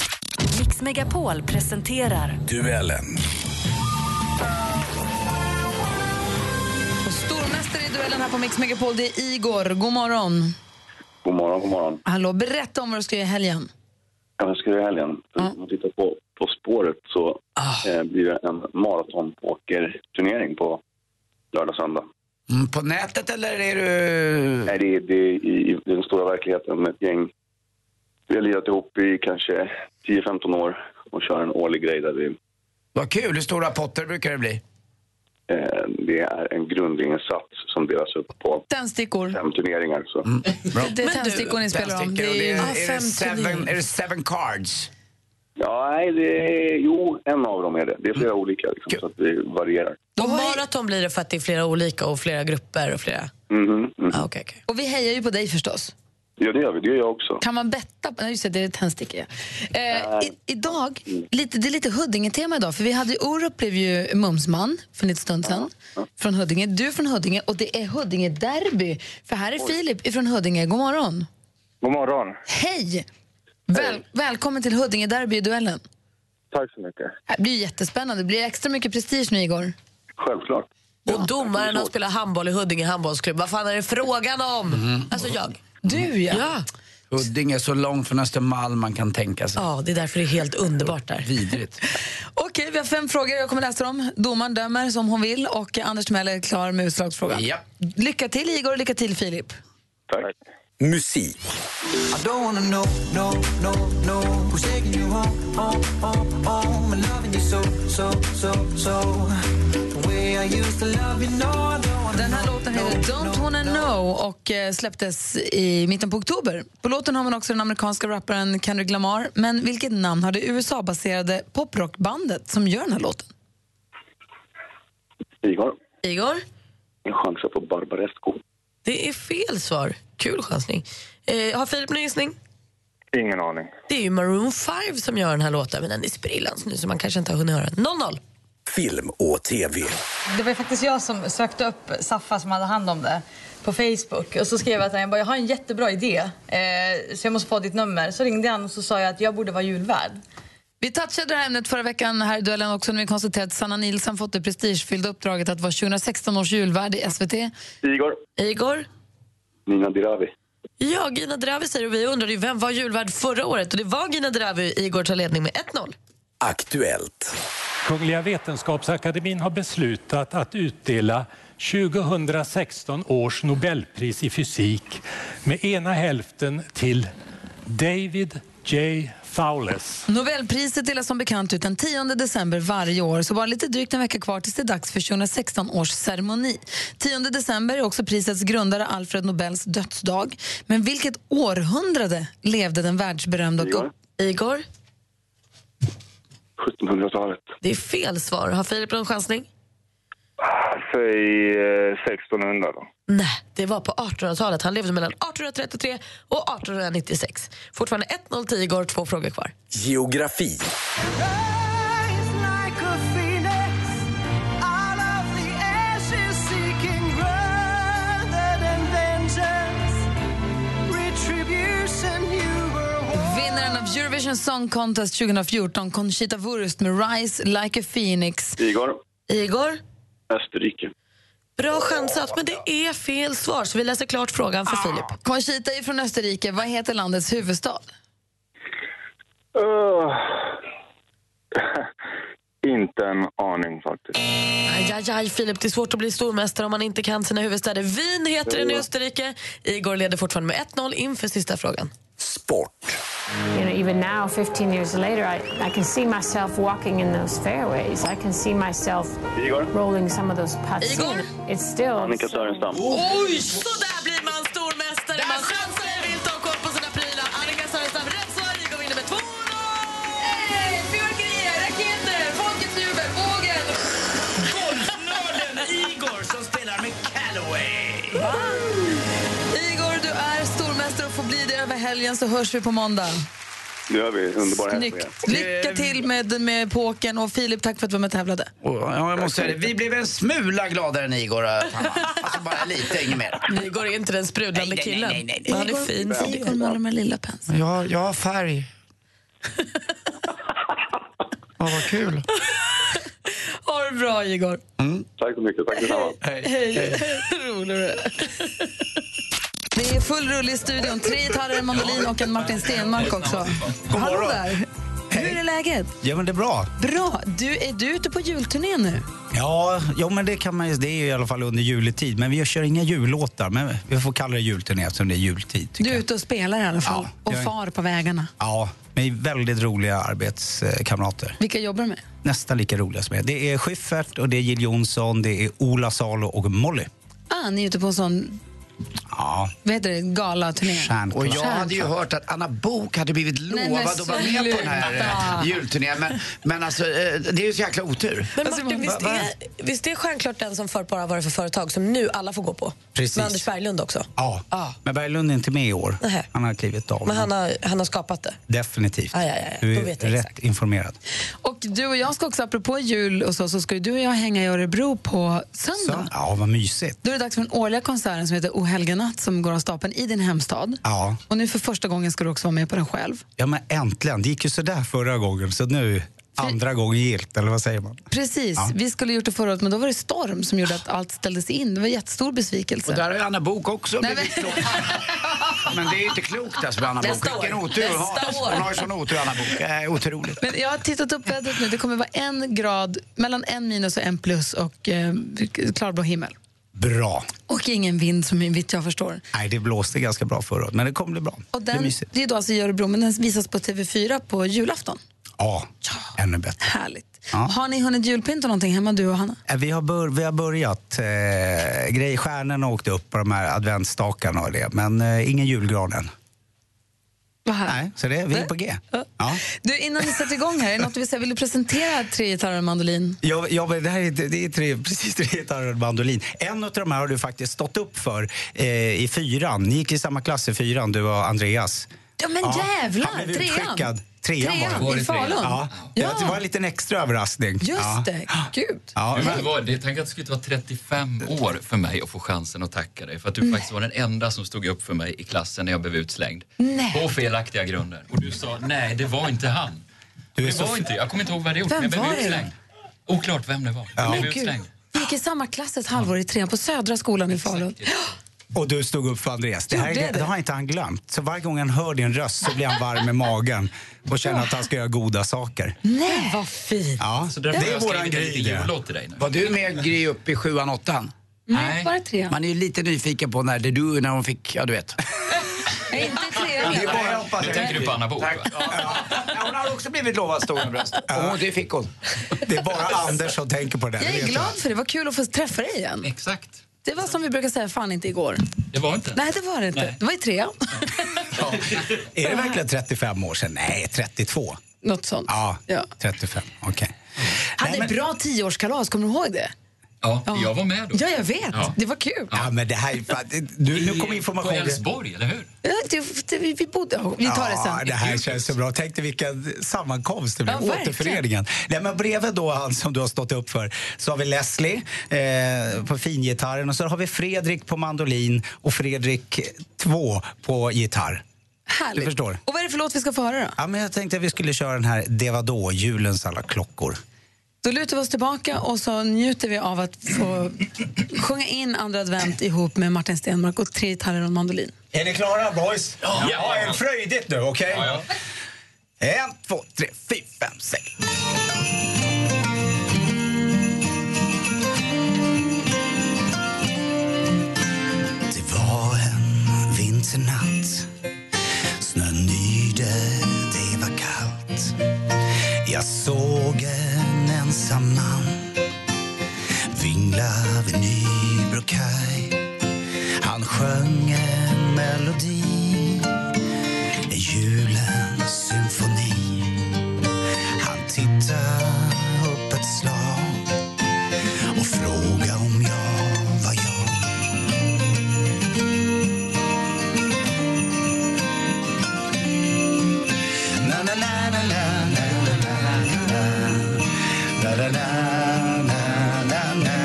Speaker 6: Mix Megapol presenterar
Speaker 10: Duellen.
Speaker 1: Och stormästare i duellen här på Mix Megapol, det är Igor. God morgon.
Speaker 17: God morgon, god morgon.
Speaker 1: Hallå, berätta om vad du ska göra i helgen.
Speaker 17: Ja, Jag ska göra i helgen. För Om man tittar på På spåret så eh, blir det en maratonpokerturnering på lördag, söndag.
Speaker 2: Mm, på nätet eller är du...
Speaker 17: Nej, det är, det är i, i den stora verkligheten med ett gäng. Vi har lirat ihop i kanske 10-15 år och kör en årlig grej där vi...
Speaker 2: Vad kul, hur stora potter brukar det bli?
Speaker 17: Eh, det är en grundinsats som delas upp på
Speaker 1: Tändstickor.
Speaker 17: fem turneringar. Så.
Speaker 1: Det är tändstickor ni spelar om.
Speaker 2: Tändstickor och det är,
Speaker 1: Ah,
Speaker 2: är, det
Speaker 1: fem
Speaker 2: seven,
Speaker 1: turneringar.
Speaker 2: är det seven cards?
Speaker 17: Ja, nej, det är, jo, en av dem är det. Det är flera olika, liksom, så att det varierar.
Speaker 3: Och maraton blir det för att det är flera olika och flera grupper och flera...
Speaker 17: Mhm, mm.
Speaker 3: Ah, okay,
Speaker 1: Och vi hejar ju på dig förstås.
Speaker 17: Ja, det gör vi. Det gör jag också.
Speaker 1: Kan man betta? Nej, just det, det är tändstickor. ja. Eh, i, idag, lite, det är lite Huddinge-tema idag, för vi hade ju Orup blev ju mumsman för en liten stund sedan. Från Huddinge. Du är från Huddinge och det är Huddinge-derby. För här är Filip ifrån Huddinge. God morgon.
Speaker 18: God morgon.
Speaker 1: Hej! Väl, välkommen till Huddinge-derby i duellen.
Speaker 18: Tack så mycket.
Speaker 1: Det här blir ju jättespännande. Det blir extra mycket prestige nu, Igor.
Speaker 17: Självklart.
Speaker 3: Och domaren har spelat handboll i Huddinge handbollsklubb. Vad fan är det frågan om? Alltså jag.
Speaker 1: Du ja.
Speaker 2: Mm. Huddinge är så långt från Östermalm man kan tänka sig.
Speaker 3: Ja, det är därför det är helt underbart där.
Speaker 2: Vidrigt.
Speaker 1: Okej, vi har fem frågor. Jag kommer läsa dem. Domaren dömer som hon vill och Anders Timell är klar med utslagsfrågan.
Speaker 2: Ja.
Speaker 1: Lycka till, Igor, och lycka till, Filip.
Speaker 18: Tack.
Speaker 19: Musik. I don't wanna know, no, no, no Who's taking you home, home, home, home And loving you so, so, so, so The way I used to love you, no I don't wanna
Speaker 1: Den här låten heter Don't wanna know och eh, släpptes i mitten på oktober. På låten har man också den amerikanska rapparen Kendrick Lamar. Men vilket namn har det USA-baserade poprockbandet som gör den här låten?
Speaker 17: Igor,
Speaker 3: Igor?
Speaker 17: en chans på Barbaresco.
Speaker 3: Det är fel svar. Kul chansning. Eh, har Filip någon gissning?
Speaker 18: Ingen aning.
Speaker 3: Det är ju Maroon 5 som gör den här låten, men den är sprillans nu så man kanske inte har hunnit höra den. 0-0.
Speaker 18: Film och tv.
Speaker 20: Det var ju faktiskt jag som sökte upp Saffa som hade hand om det på Facebook och så skrev jag att jag, bara, jag har en jättebra idé eh, så jag måste få ditt nummer. Så ringde han och så sa jag att jag borde vara julvärd.
Speaker 1: Vi touchade det här ämnet förra veckan här i duellen också när vi konstaterade att Sanna Nilsson fått det prestigefyllda uppdraget att vara 2016 års julvärd i SVT.
Speaker 17: Igor,
Speaker 3: Igor?
Speaker 17: Nina Dirawi.
Speaker 3: Ja, Gina Dravi säger och vi undrade ju vem var julvärd förra året och det var Gina Dravi. Igor tar ledning med 1-0.
Speaker 17: Aktuellt.
Speaker 21: Kungliga Vetenskapsakademien har beslutat att utdela 2016 års Nobelpris i fysik med ena hälften till David J. Fowles.
Speaker 1: Nobelpriset delas som bekant ut den 10 december varje år, så bara lite drygt en vecka kvar tills det är dags för 2016 års ceremoni. 10 december är också prisets grundare Alfred Nobels dödsdag. Men vilket århundrade levde den världsberömda...
Speaker 22: Igor.
Speaker 1: Igor?
Speaker 22: 1700-talet.
Speaker 3: Det är fel svar. Har Filip någon chansning?
Speaker 17: Säg eh, 1600 då.
Speaker 3: Nej, det var på 1800-talet. Han levde mellan 1833 och 1896. Fortfarande 1-0 till Igor, två frågor kvar.
Speaker 17: Geografi.
Speaker 1: Vinnaren av Eurovision Song Contest 2014, Conchita Wurst med Rise Like a Phoenix.
Speaker 22: Igor.
Speaker 1: Igor?
Speaker 22: Österrike.
Speaker 3: Bra chansat, men det är fel svar, så vi läser klart frågan för Filip.
Speaker 1: Ah. Conchita är från Österrike. Vad heter landets huvudstad?
Speaker 17: Öh. Inte en aning faktiskt.
Speaker 3: Aj, aj, aj, Filip, det är svårt att bli stormästare om man inte kan sina huvudstäder. Wien heter den i Österrike. Igor leder fortfarande med 1-0 inför sista frågan.
Speaker 23: You know, even now, 15 years later, I, I can see myself walking in those fairways. I can see myself rolling some of those putts. in. It's still.
Speaker 22: Annika Sörenstam.
Speaker 3: Oj, så där blir man stormästare! Man chansar vilt och har koll på sina prylar. Annika Sörenstam, rätt svar. Igor vinner med 2-0!
Speaker 24: Fyrverkerier, raketer, folkets jubel, vågen!
Speaker 2: Golfnörden Igor som spelar med Callaway.
Speaker 1: Igor, du är stormästare och får bli det över helgen så hörs vi på måndag.
Speaker 22: Nu gör vi. Underbara helg på er.
Speaker 1: Snyggt. Lycka till med, med pokern och Filip, tack för att du var med och tävlade.
Speaker 2: Och, ja, jag måste säga det. Vi blev en smula gladare än Igor. eh, Tamma. Alltså bara lite, inget mer.
Speaker 3: Igor är inte den sprudlande
Speaker 2: Nej, nej,
Speaker 3: killen.
Speaker 2: nej, nej, nej.
Speaker 3: Han är fin.
Speaker 1: Igor målar med lilla pensel.
Speaker 2: Ja, jag har färg. Ja, vad kul.
Speaker 1: Ha det bra, Igor.
Speaker 22: Tack så mycket. Tack detsamma.
Speaker 1: Hej. Rolig du är. Det är full rulle i studion. Tre gitarrer, en mandolin och en Martin Stenmark också.
Speaker 2: God
Speaker 1: Hallå
Speaker 2: morgon.
Speaker 1: där. Hur är läget?
Speaker 2: Ja, men det är bra.
Speaker 1: Bra. Du, är du ute på julturné nu?
Speaker 15: Ja, jo, men det, kan man, ju- det är ju i alla fall under juletid. Men vi kör inga jullåtar. Men vi får kalla det julturné eftersom det är jultid.
Speaker 1: Du är ute och spelar i alla fall.
Speaker 15: jag
Speaker 1: och
Speaker 15: är-
Speaker 1: far på vägarna.
Speaker 15: Ja, med väldigt roliga arbetskamrater.
Speaker 1: Vilka jobbar du med?
Speaker 15: Nästan lika roliga som jag. Det är Schyffert, och det är Jill Johnson, det är Ola Salo och Molly.
Speaker 1: Ah, ni är ute på en sån,
Speaker 15: Ja,
Speaker 1: vad heter det, galaturné?
Speaker 2: Och jag hade ju hört att Anna Bok hade blivit
Speaker 1: Nej,
Speaker 2: lovad
Speaker 1: men
Speaker 2: att vara med på den här
Speaker 3: sluta.
Speaker 2: eh, julturnén. Men, men alltså, eh, det är ju så jäkla otur.
Speaker 3: Men Martin, visst
Speaker 2: Alltså, Va- va-
Speaker 3: är, visst är Stjärnklart den som förr bara varit för företag som nu alla får gå på?
Speaker 15: Precis.
Speaker 3: Med Anders Berglund också.
Speaker 15: ja. men Berglund är inte med i år.
Speaker 3: Nähä.
Speaker 15: Han har klivit av.
Speaker 3: Men han har, han har skapat det.
Speaker 15: Definitivt.
Speaker 3: Aj, aj, aj.
Speaker 15: Du
Speaker 1: Då
Speaker 15: är
Speaker 1: vet
Speaker 15: rätt
Speaker 1: jag
Speaker 15: informerad.
Speaker 1: Och du och jag ska också, apropå jul och så, så ska ju du och jag hänga i Örebro på söndag.
Speaker 15: Ja, vad mysigt.
Speaker 1: Då är det dags för den årliga konserten som heter O helga natt som går av stapeln i din hemstad.
Speaker 15: Ja.
Speaker 1: Och nu för första gången ska du också vara med på den själv.
Speaker 15: Ja, men äntligen. Det gick ju sådär förra gången, så nu andra gången gilt, eller vad säger man?
Speaker 1: Precis,
Speaker 15: Ja.
Speaker 1: vi skulle ha gjort det förra året men då var det storm som gjorde att allt ställdes in. Det var en jättestor besvikelse.
Speaker 2: Och där har ju Anna Bok också blivit lovad. Men det är ju inte klokt alltså med Anna
Speaker 1: Nästa
Speaker 2: Bok. Vilken
Speaker 1: år.
Speaker 2: otur hon
Speaker 1: Nästa
Speaker 2: har.
Speaker 1: år.
Speaker 2: Hon har ju sån otur Anna Bok. Eh, otroligt.
Speaker 1: Men jag har tittat upp vädret nu. Det kommer vara en grad, mellan en minus och en plus och eh, klarblå himmel.
Speaker 15: Bra.
Speaker 1: Och ingen vind som vitt jag förstår.
Speaker 15: Nej, det blåste ganska bra förra året, men det kommer bli bra.
Speaker 1: Och
Speaker 15: Det är
Speaker 1: den, det,
Speaker 15: mysigt.
Speaker 1: är då alltså i Örebro, men den visas på TV4 på julafton.
Speaker 15: Ja, ännu bättre.
Speaker 1: Härligt.
Speaker 15: Ja.
Speaker 1: Har ni hunnit julpynta någonting hemma, du och Hanna?
Speaker 15: Eh, Vi har, bör, vi har börjat. Eh, grej, stjärnorna åkte upp på de här adventsstakarna och det, men eh, ingen julgran än.
Speaker 1: Vad Nej,
Speaker 15: så det, vi är på G. Ja.
Speaker 1: Du, innan vi sätter igång här, är det något du vill säga? Vill du presentera tre gitarrer och mandolin?
Speaker 15: Ja, ja, men det här är, det är tre, precis tre gitarrer och mandolin. En av de här har du faktiskt stått upp för eh, i fyran. Ni gick i samma klass i fyran, du och Andreas.
Speaker 1: Ja, men jävlar,
Speaker 15: Han blev
Speaker 1: trean.
Speaker 15: utskickad. Trean,
Speaker 1: Trean,
Speaker 15: var det.
Speaker 1: i Falun.
Speaker 15: Ja, det
Speaker 1: Ja.
Speaker 15: var en liten extra överraskning.
Speaker 1: Just
Speaker 15: ja.
Speaker 1: det, gud.
Speaker 15: Ja,
Speaker 25: Men
Speaker 15: men-
Speaker 25: det var, det, tänk att det skulle ta 35 år för mig att få chansen att tacka dig för att du faktiskt var den enda som stod upp för mig i klassen när jag blev utslängd.
Speaker 1: Nej.
Speaker 25: På felaktiga grunder. Och du sa nej, det var inte han.
Speaker 15: Du
Speaker 25: det
Speaker 15: så
Speaker 25: var
Speaker 15: f-
Speaker 25: inte, jag kommer inte ihåg vad det gjort,
Speaker 1: Vem
Speaker 25: men jag blev
Speaker 1: var det då?
Speaker 25: utslängd. Oklart vem det var. Jag
Speaker 1: Men
Speaker 25: blev
Speaker 1: gud.
Speaker 25: utslängd.
Speaker 1: Vi gick i samma klass ett halvår i trean på Södra skolan i Falun.
Speaker 26: Och du stod upp för Andreas. Det, här,
Speaker 27: Gjorde
Speaker 26: det,
Speaker 27: jag
Speaker 26: det har inte han glömt. Så varje gång han hör din röst så blir han varm i magen och känner att han ska göra goda saker.
Speaker 15: Nej, vad fint.
Speaker 26: Ja,
Speaker 25: Så därför har jag skrivit en liten
Speaker 26: det.
Speaker 25: jullåt till dig nu.
Speaker 2: Var du med Gry upp i sjuan, åttan?
Speaker 15: Nej, bara tre.
Speaker 2: Man är ju lite nyfiken på när det du när hon fick, ja du vet.
Speaker 15: Nej, inte trean.
Speaker 2: Det är bara att hoppas.
Speaker 25: Nu tänker du på Anna Bok, va?
Speaker 2: Hon har också blivit lovad stora bröst. Och det fick hon.
Speaker 26: Det är bara Anders som tänker på det.
Speaker 15: Jag är glad för det. Vad kul att få träffa dig igen.
Speaker 25: Exakt.
Speaker 15: Det var som vi brukar säga, fan inte igår.
Speaker 25: Det var inte.
Speaker 15: Nej, det var det inte.
Speaker 26: Nej.
Speaker 15: Det var i trean.
Speaker 26: Är det verkligen 35 år sedan? Nej, 32.
Speaker 15: Något sånt.
Speaker 26: Ja,
Speaker 15: Ja.
Speaker 26: 35. Okej.
Speaker 15: Hade ett bra tioårskalas, kommer du ihåg det?
Speaker 25: Ja, jag var med då.
Speaker 15: Ja, jag vet.
Speaker 26: Ja.
Speaker 15: Det var kul.
Speaker 26: Ja, men det här är fan- det- nu, nu kommer information.
Speaker 25: På Älvsborg, eller hur?
Speaker 15: Ja, det, det, Eh, vi bodde... Vi tar det sen.
Speaker 26: Ja, det här känns så bra. Tänk dig vilken sammankomst det blev.
Speaker 15: Ja, verkligen.
Speaker 26: Återföreningen. Nej, men bredvid då han som du har stått upp för så har vi Leslie eh, på fingitarren och så har vi Fredrik på mandolin och Fredrik 2 på gitarr.
Speaker 15: Härligt.
Speaker 26: Du förstår.
Speaker 15: Och vad är det för låt vi ska få höra då?
Speaker 26: Ja, men jag tänkte att vi skulle köra den här Det var då, julens alla klockor.
Speaker 15: Då lutar vi oss tillbaka och så njuter vi av att få sjunga in andra advent ihop med Martin Stenmark och tre gitarrer och en mandolin.
Speaker 26: Är ni klara boys?
Speaker 25: Ja.
Speaker 26: ja är det fröjdigt nu? Okej? En, två, tre, fyra, fem, sex. Det var en vinternatt Snön yrde, det var kallt Jag såg en ensam man vingla vid Nybro-kaj Han sjöng en melodi en julens symfoni Han tittade upp ett slag och frågade om jag var jag Na, na, na, na, na, na, na, na, na. Na, na, na, na, na, na.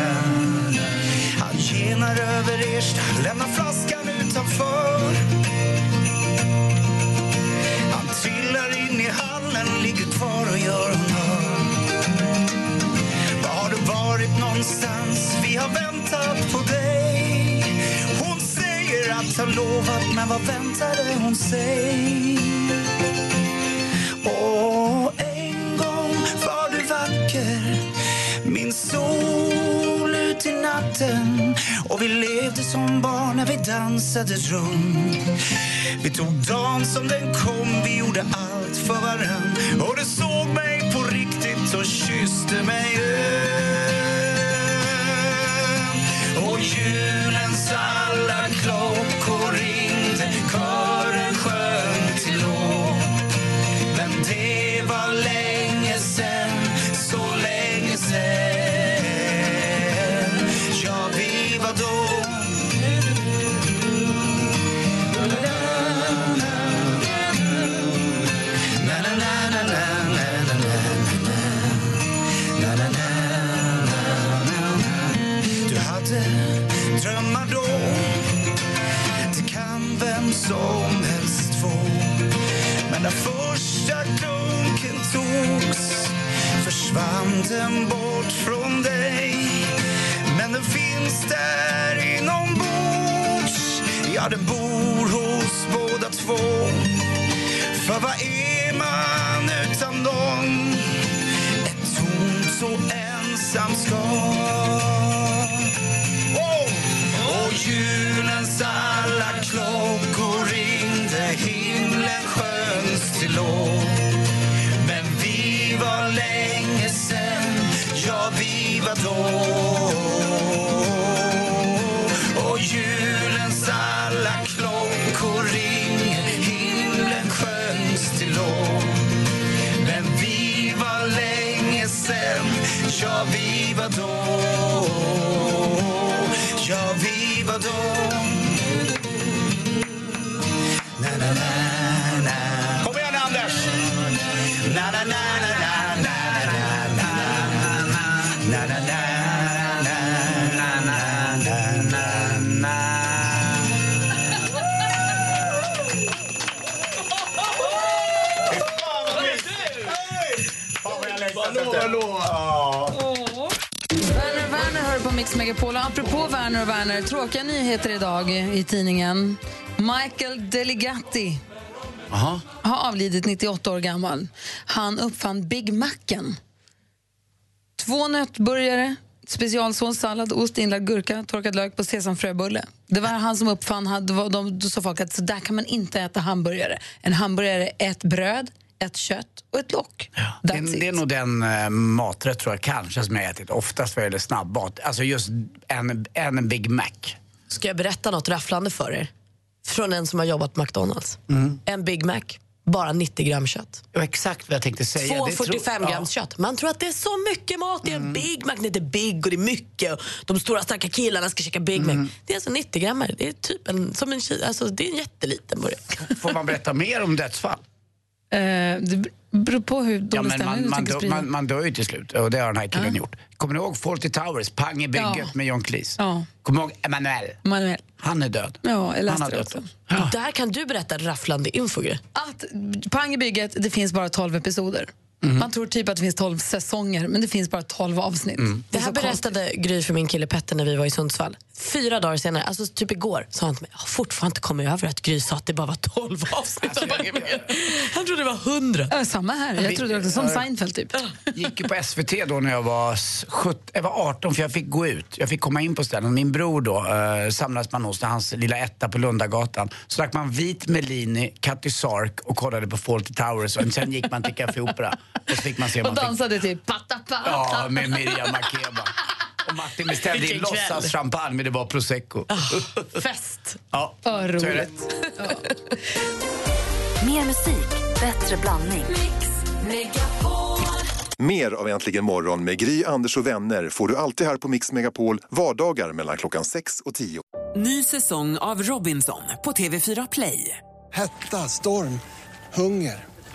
Speaker 26: Han tjenar över Ersta, lämnar flaskan utanför Han trillar in i hallen, ligger kvar och gör honör Var har du varit någonstans? Vi har väntat på dig Hon säger att han lovat, men vad väntade hon sig? Åh, en gång var du vacker Min sol ut i natten Och vi levde som barn när vi dansade runt Vi tog dagen som den kom Vi gjorde allt för varann Och du såg mig på riktigt och kysste mig öm Och julens alla klockor ringde Kören sjöng till låg men det var länge sen, så länge sen Ja, vi var då Na, na, na, na, na, na, na, na, na, na. Na, na, na, na, na. Du hade drömmar då Det kan vem som helst få men när första klunken togs försvann den bort från dig Men den finns där inombords Ja, den bor hos båda två För vad är man utan någon? Ett tomt och ensamt skal Wow! Och julens alla klockor ringde, himlen sjöngs till lov. Men vi var länge sen, ja vi var då. Och julens alla klockor ringde, himlen sjöngs till lov. Men vi var länge sen, ja vi var då Ja vi var då na, na, na, na. Kom igen Anders! Na, na, na, na, na, na, na, na, na, na, na, na, na, na, na, na, na. Fy fan, vad mysigt! Hej! Fan, vad jag längtat efter. Ja.
Speaker 15: Werner Werner hör på Mix
Speaker 1: Megapol. Och apropå Werner och Werner, tråkiga nyheter idag i tidningen. Michael Deligatti
Speaker 2: Aha.
Speaker 1: har avlidit 98 år gammal. Han uppfann Big Macen. Två nötburgare, specialsås, sallad, ost, inlagd gurka, torkad lök på sesamfröbulle. Det var han som uppfann, han- det var de, då sa folk att så där kan man inte äta hamburgare. En hamburgare är ett bröd, ett kött och ett lock.
Speaker 2: Det, det är nog den eh, maträtt tror jag kanske som jag har ätit oftast vad gäller snabbmat. Alltså just en, en Big Mac.
Speaker 3: Ska jag berätta något rafflande för er? Från en som har jobbat på McDonalds. En Big Mac, bara 90 gram kött.
Speaker 2: Det var exakt vad jag tänkte säga.
Speaker 3: Två
Speaker 2: Det tror- Mm.
Speaker 3: 45 grams kött. Man tror att det är så mycket mat i en Big Mac. Det är big och det är mycket. Och De stora starka killarna ska käka Big
Speaker 2: Mm.
Speaker 3: Mac. Det är alltså 90 grammar. Det är typ en, som en, ki- alltså, det är en jätteliten burgare.
Speaker 2: Får man berätta mer om dödsfall?
Speaker 1: Eh, det beror på hur dålig
Speaker 2: Ja, men
Speaker 1: stämning
Speaker 2: man,
Speaker 1: du
Speaker 2: man,
Speaker 1: tänker
Speaker 2: dö,
Speaker 1: sprida.
Speaker 2: man, man dör ju till slut och det har den här killen gjort. Kommer ni ihåg Fawlty Towers, pang i bygget
Speaker 1: Ja.
Speaker 2: med John Cleese?
Speaker 1: Ja.
Speaker 2: Kommer ni ihåg Emanuel?
Speaker 1: Manuel.
Speaker 2: Han är död.
Speaker 1: Ja, jag
Speaker 2: Han
Speaker 1: läste
Speaker 2: har
Speaker 1: det
Speaker 2: dött.
Speaker 1: också.
Speaker 3: Där kan du berätta rafflande info. Gry.
Speaker 1: Att Pang i bygget, det finns bara 12 episoder. Man tror typ att det finns 12 säsonger, men det finns bara 12 avsnitt.
Speaker 3: Det här berättade Gry för min kille Petter när vi var i Sundsvall. Fyra dagar senare, alltså typ igår, sa han till mig jag har fortfarande inte kommit över att Gry sa att det bara var 12 avsnitt.
Speaker 2: Alltså,
Speaker 3: av Bagge Bagge." han trodde det var 100.
Speaker 1: Ja, samma här. Jag trodde också som
Speaker 2: Ja.
Speaker 1: Seinfeld typ.
Speaker 2: gick ju på SVT då när jag var, s- sjut- jag var 18 för jag fick gå ut. Jag fick komma in på ställen. Min bror då eh, samlades man hos när hans lilla etta på Lundagatan. Så drack man vit Melini, Katty Sark och kollade på Fawlty Towers och sen gick man till Café Opera. Och så fick man se om
Speaker 1: Och
Speaker 2: man fick,
Speaker 1: dansade
Speaker 16: typ
Speaker 1: till patta patta.
Speaker 2: Ja, med Miriam Makeba. Och Martin beställde in
Speaker 1: Vilken kväll. Ah,
Speaker 2: låtsas champagne men det var prosecco.
Speaker 3: fest!
Speaker 2: Ja,
Speaker 1: Vad
Speaker 2: så är det
Speaker 1: roligt.
Speaker 2: rätt.
Speaker 28: Mer musik, bättre blandning.
Speaker 27: Mer av Äntligen morgon med Gry, Anders och vänner får du alltid här på Mix Megapol vardagar mellan klockan 6 och 10.
Speaker 19: Ny säsong av Robinson på TV4 Play.
Speaker 29: Hetta, storm, hunger.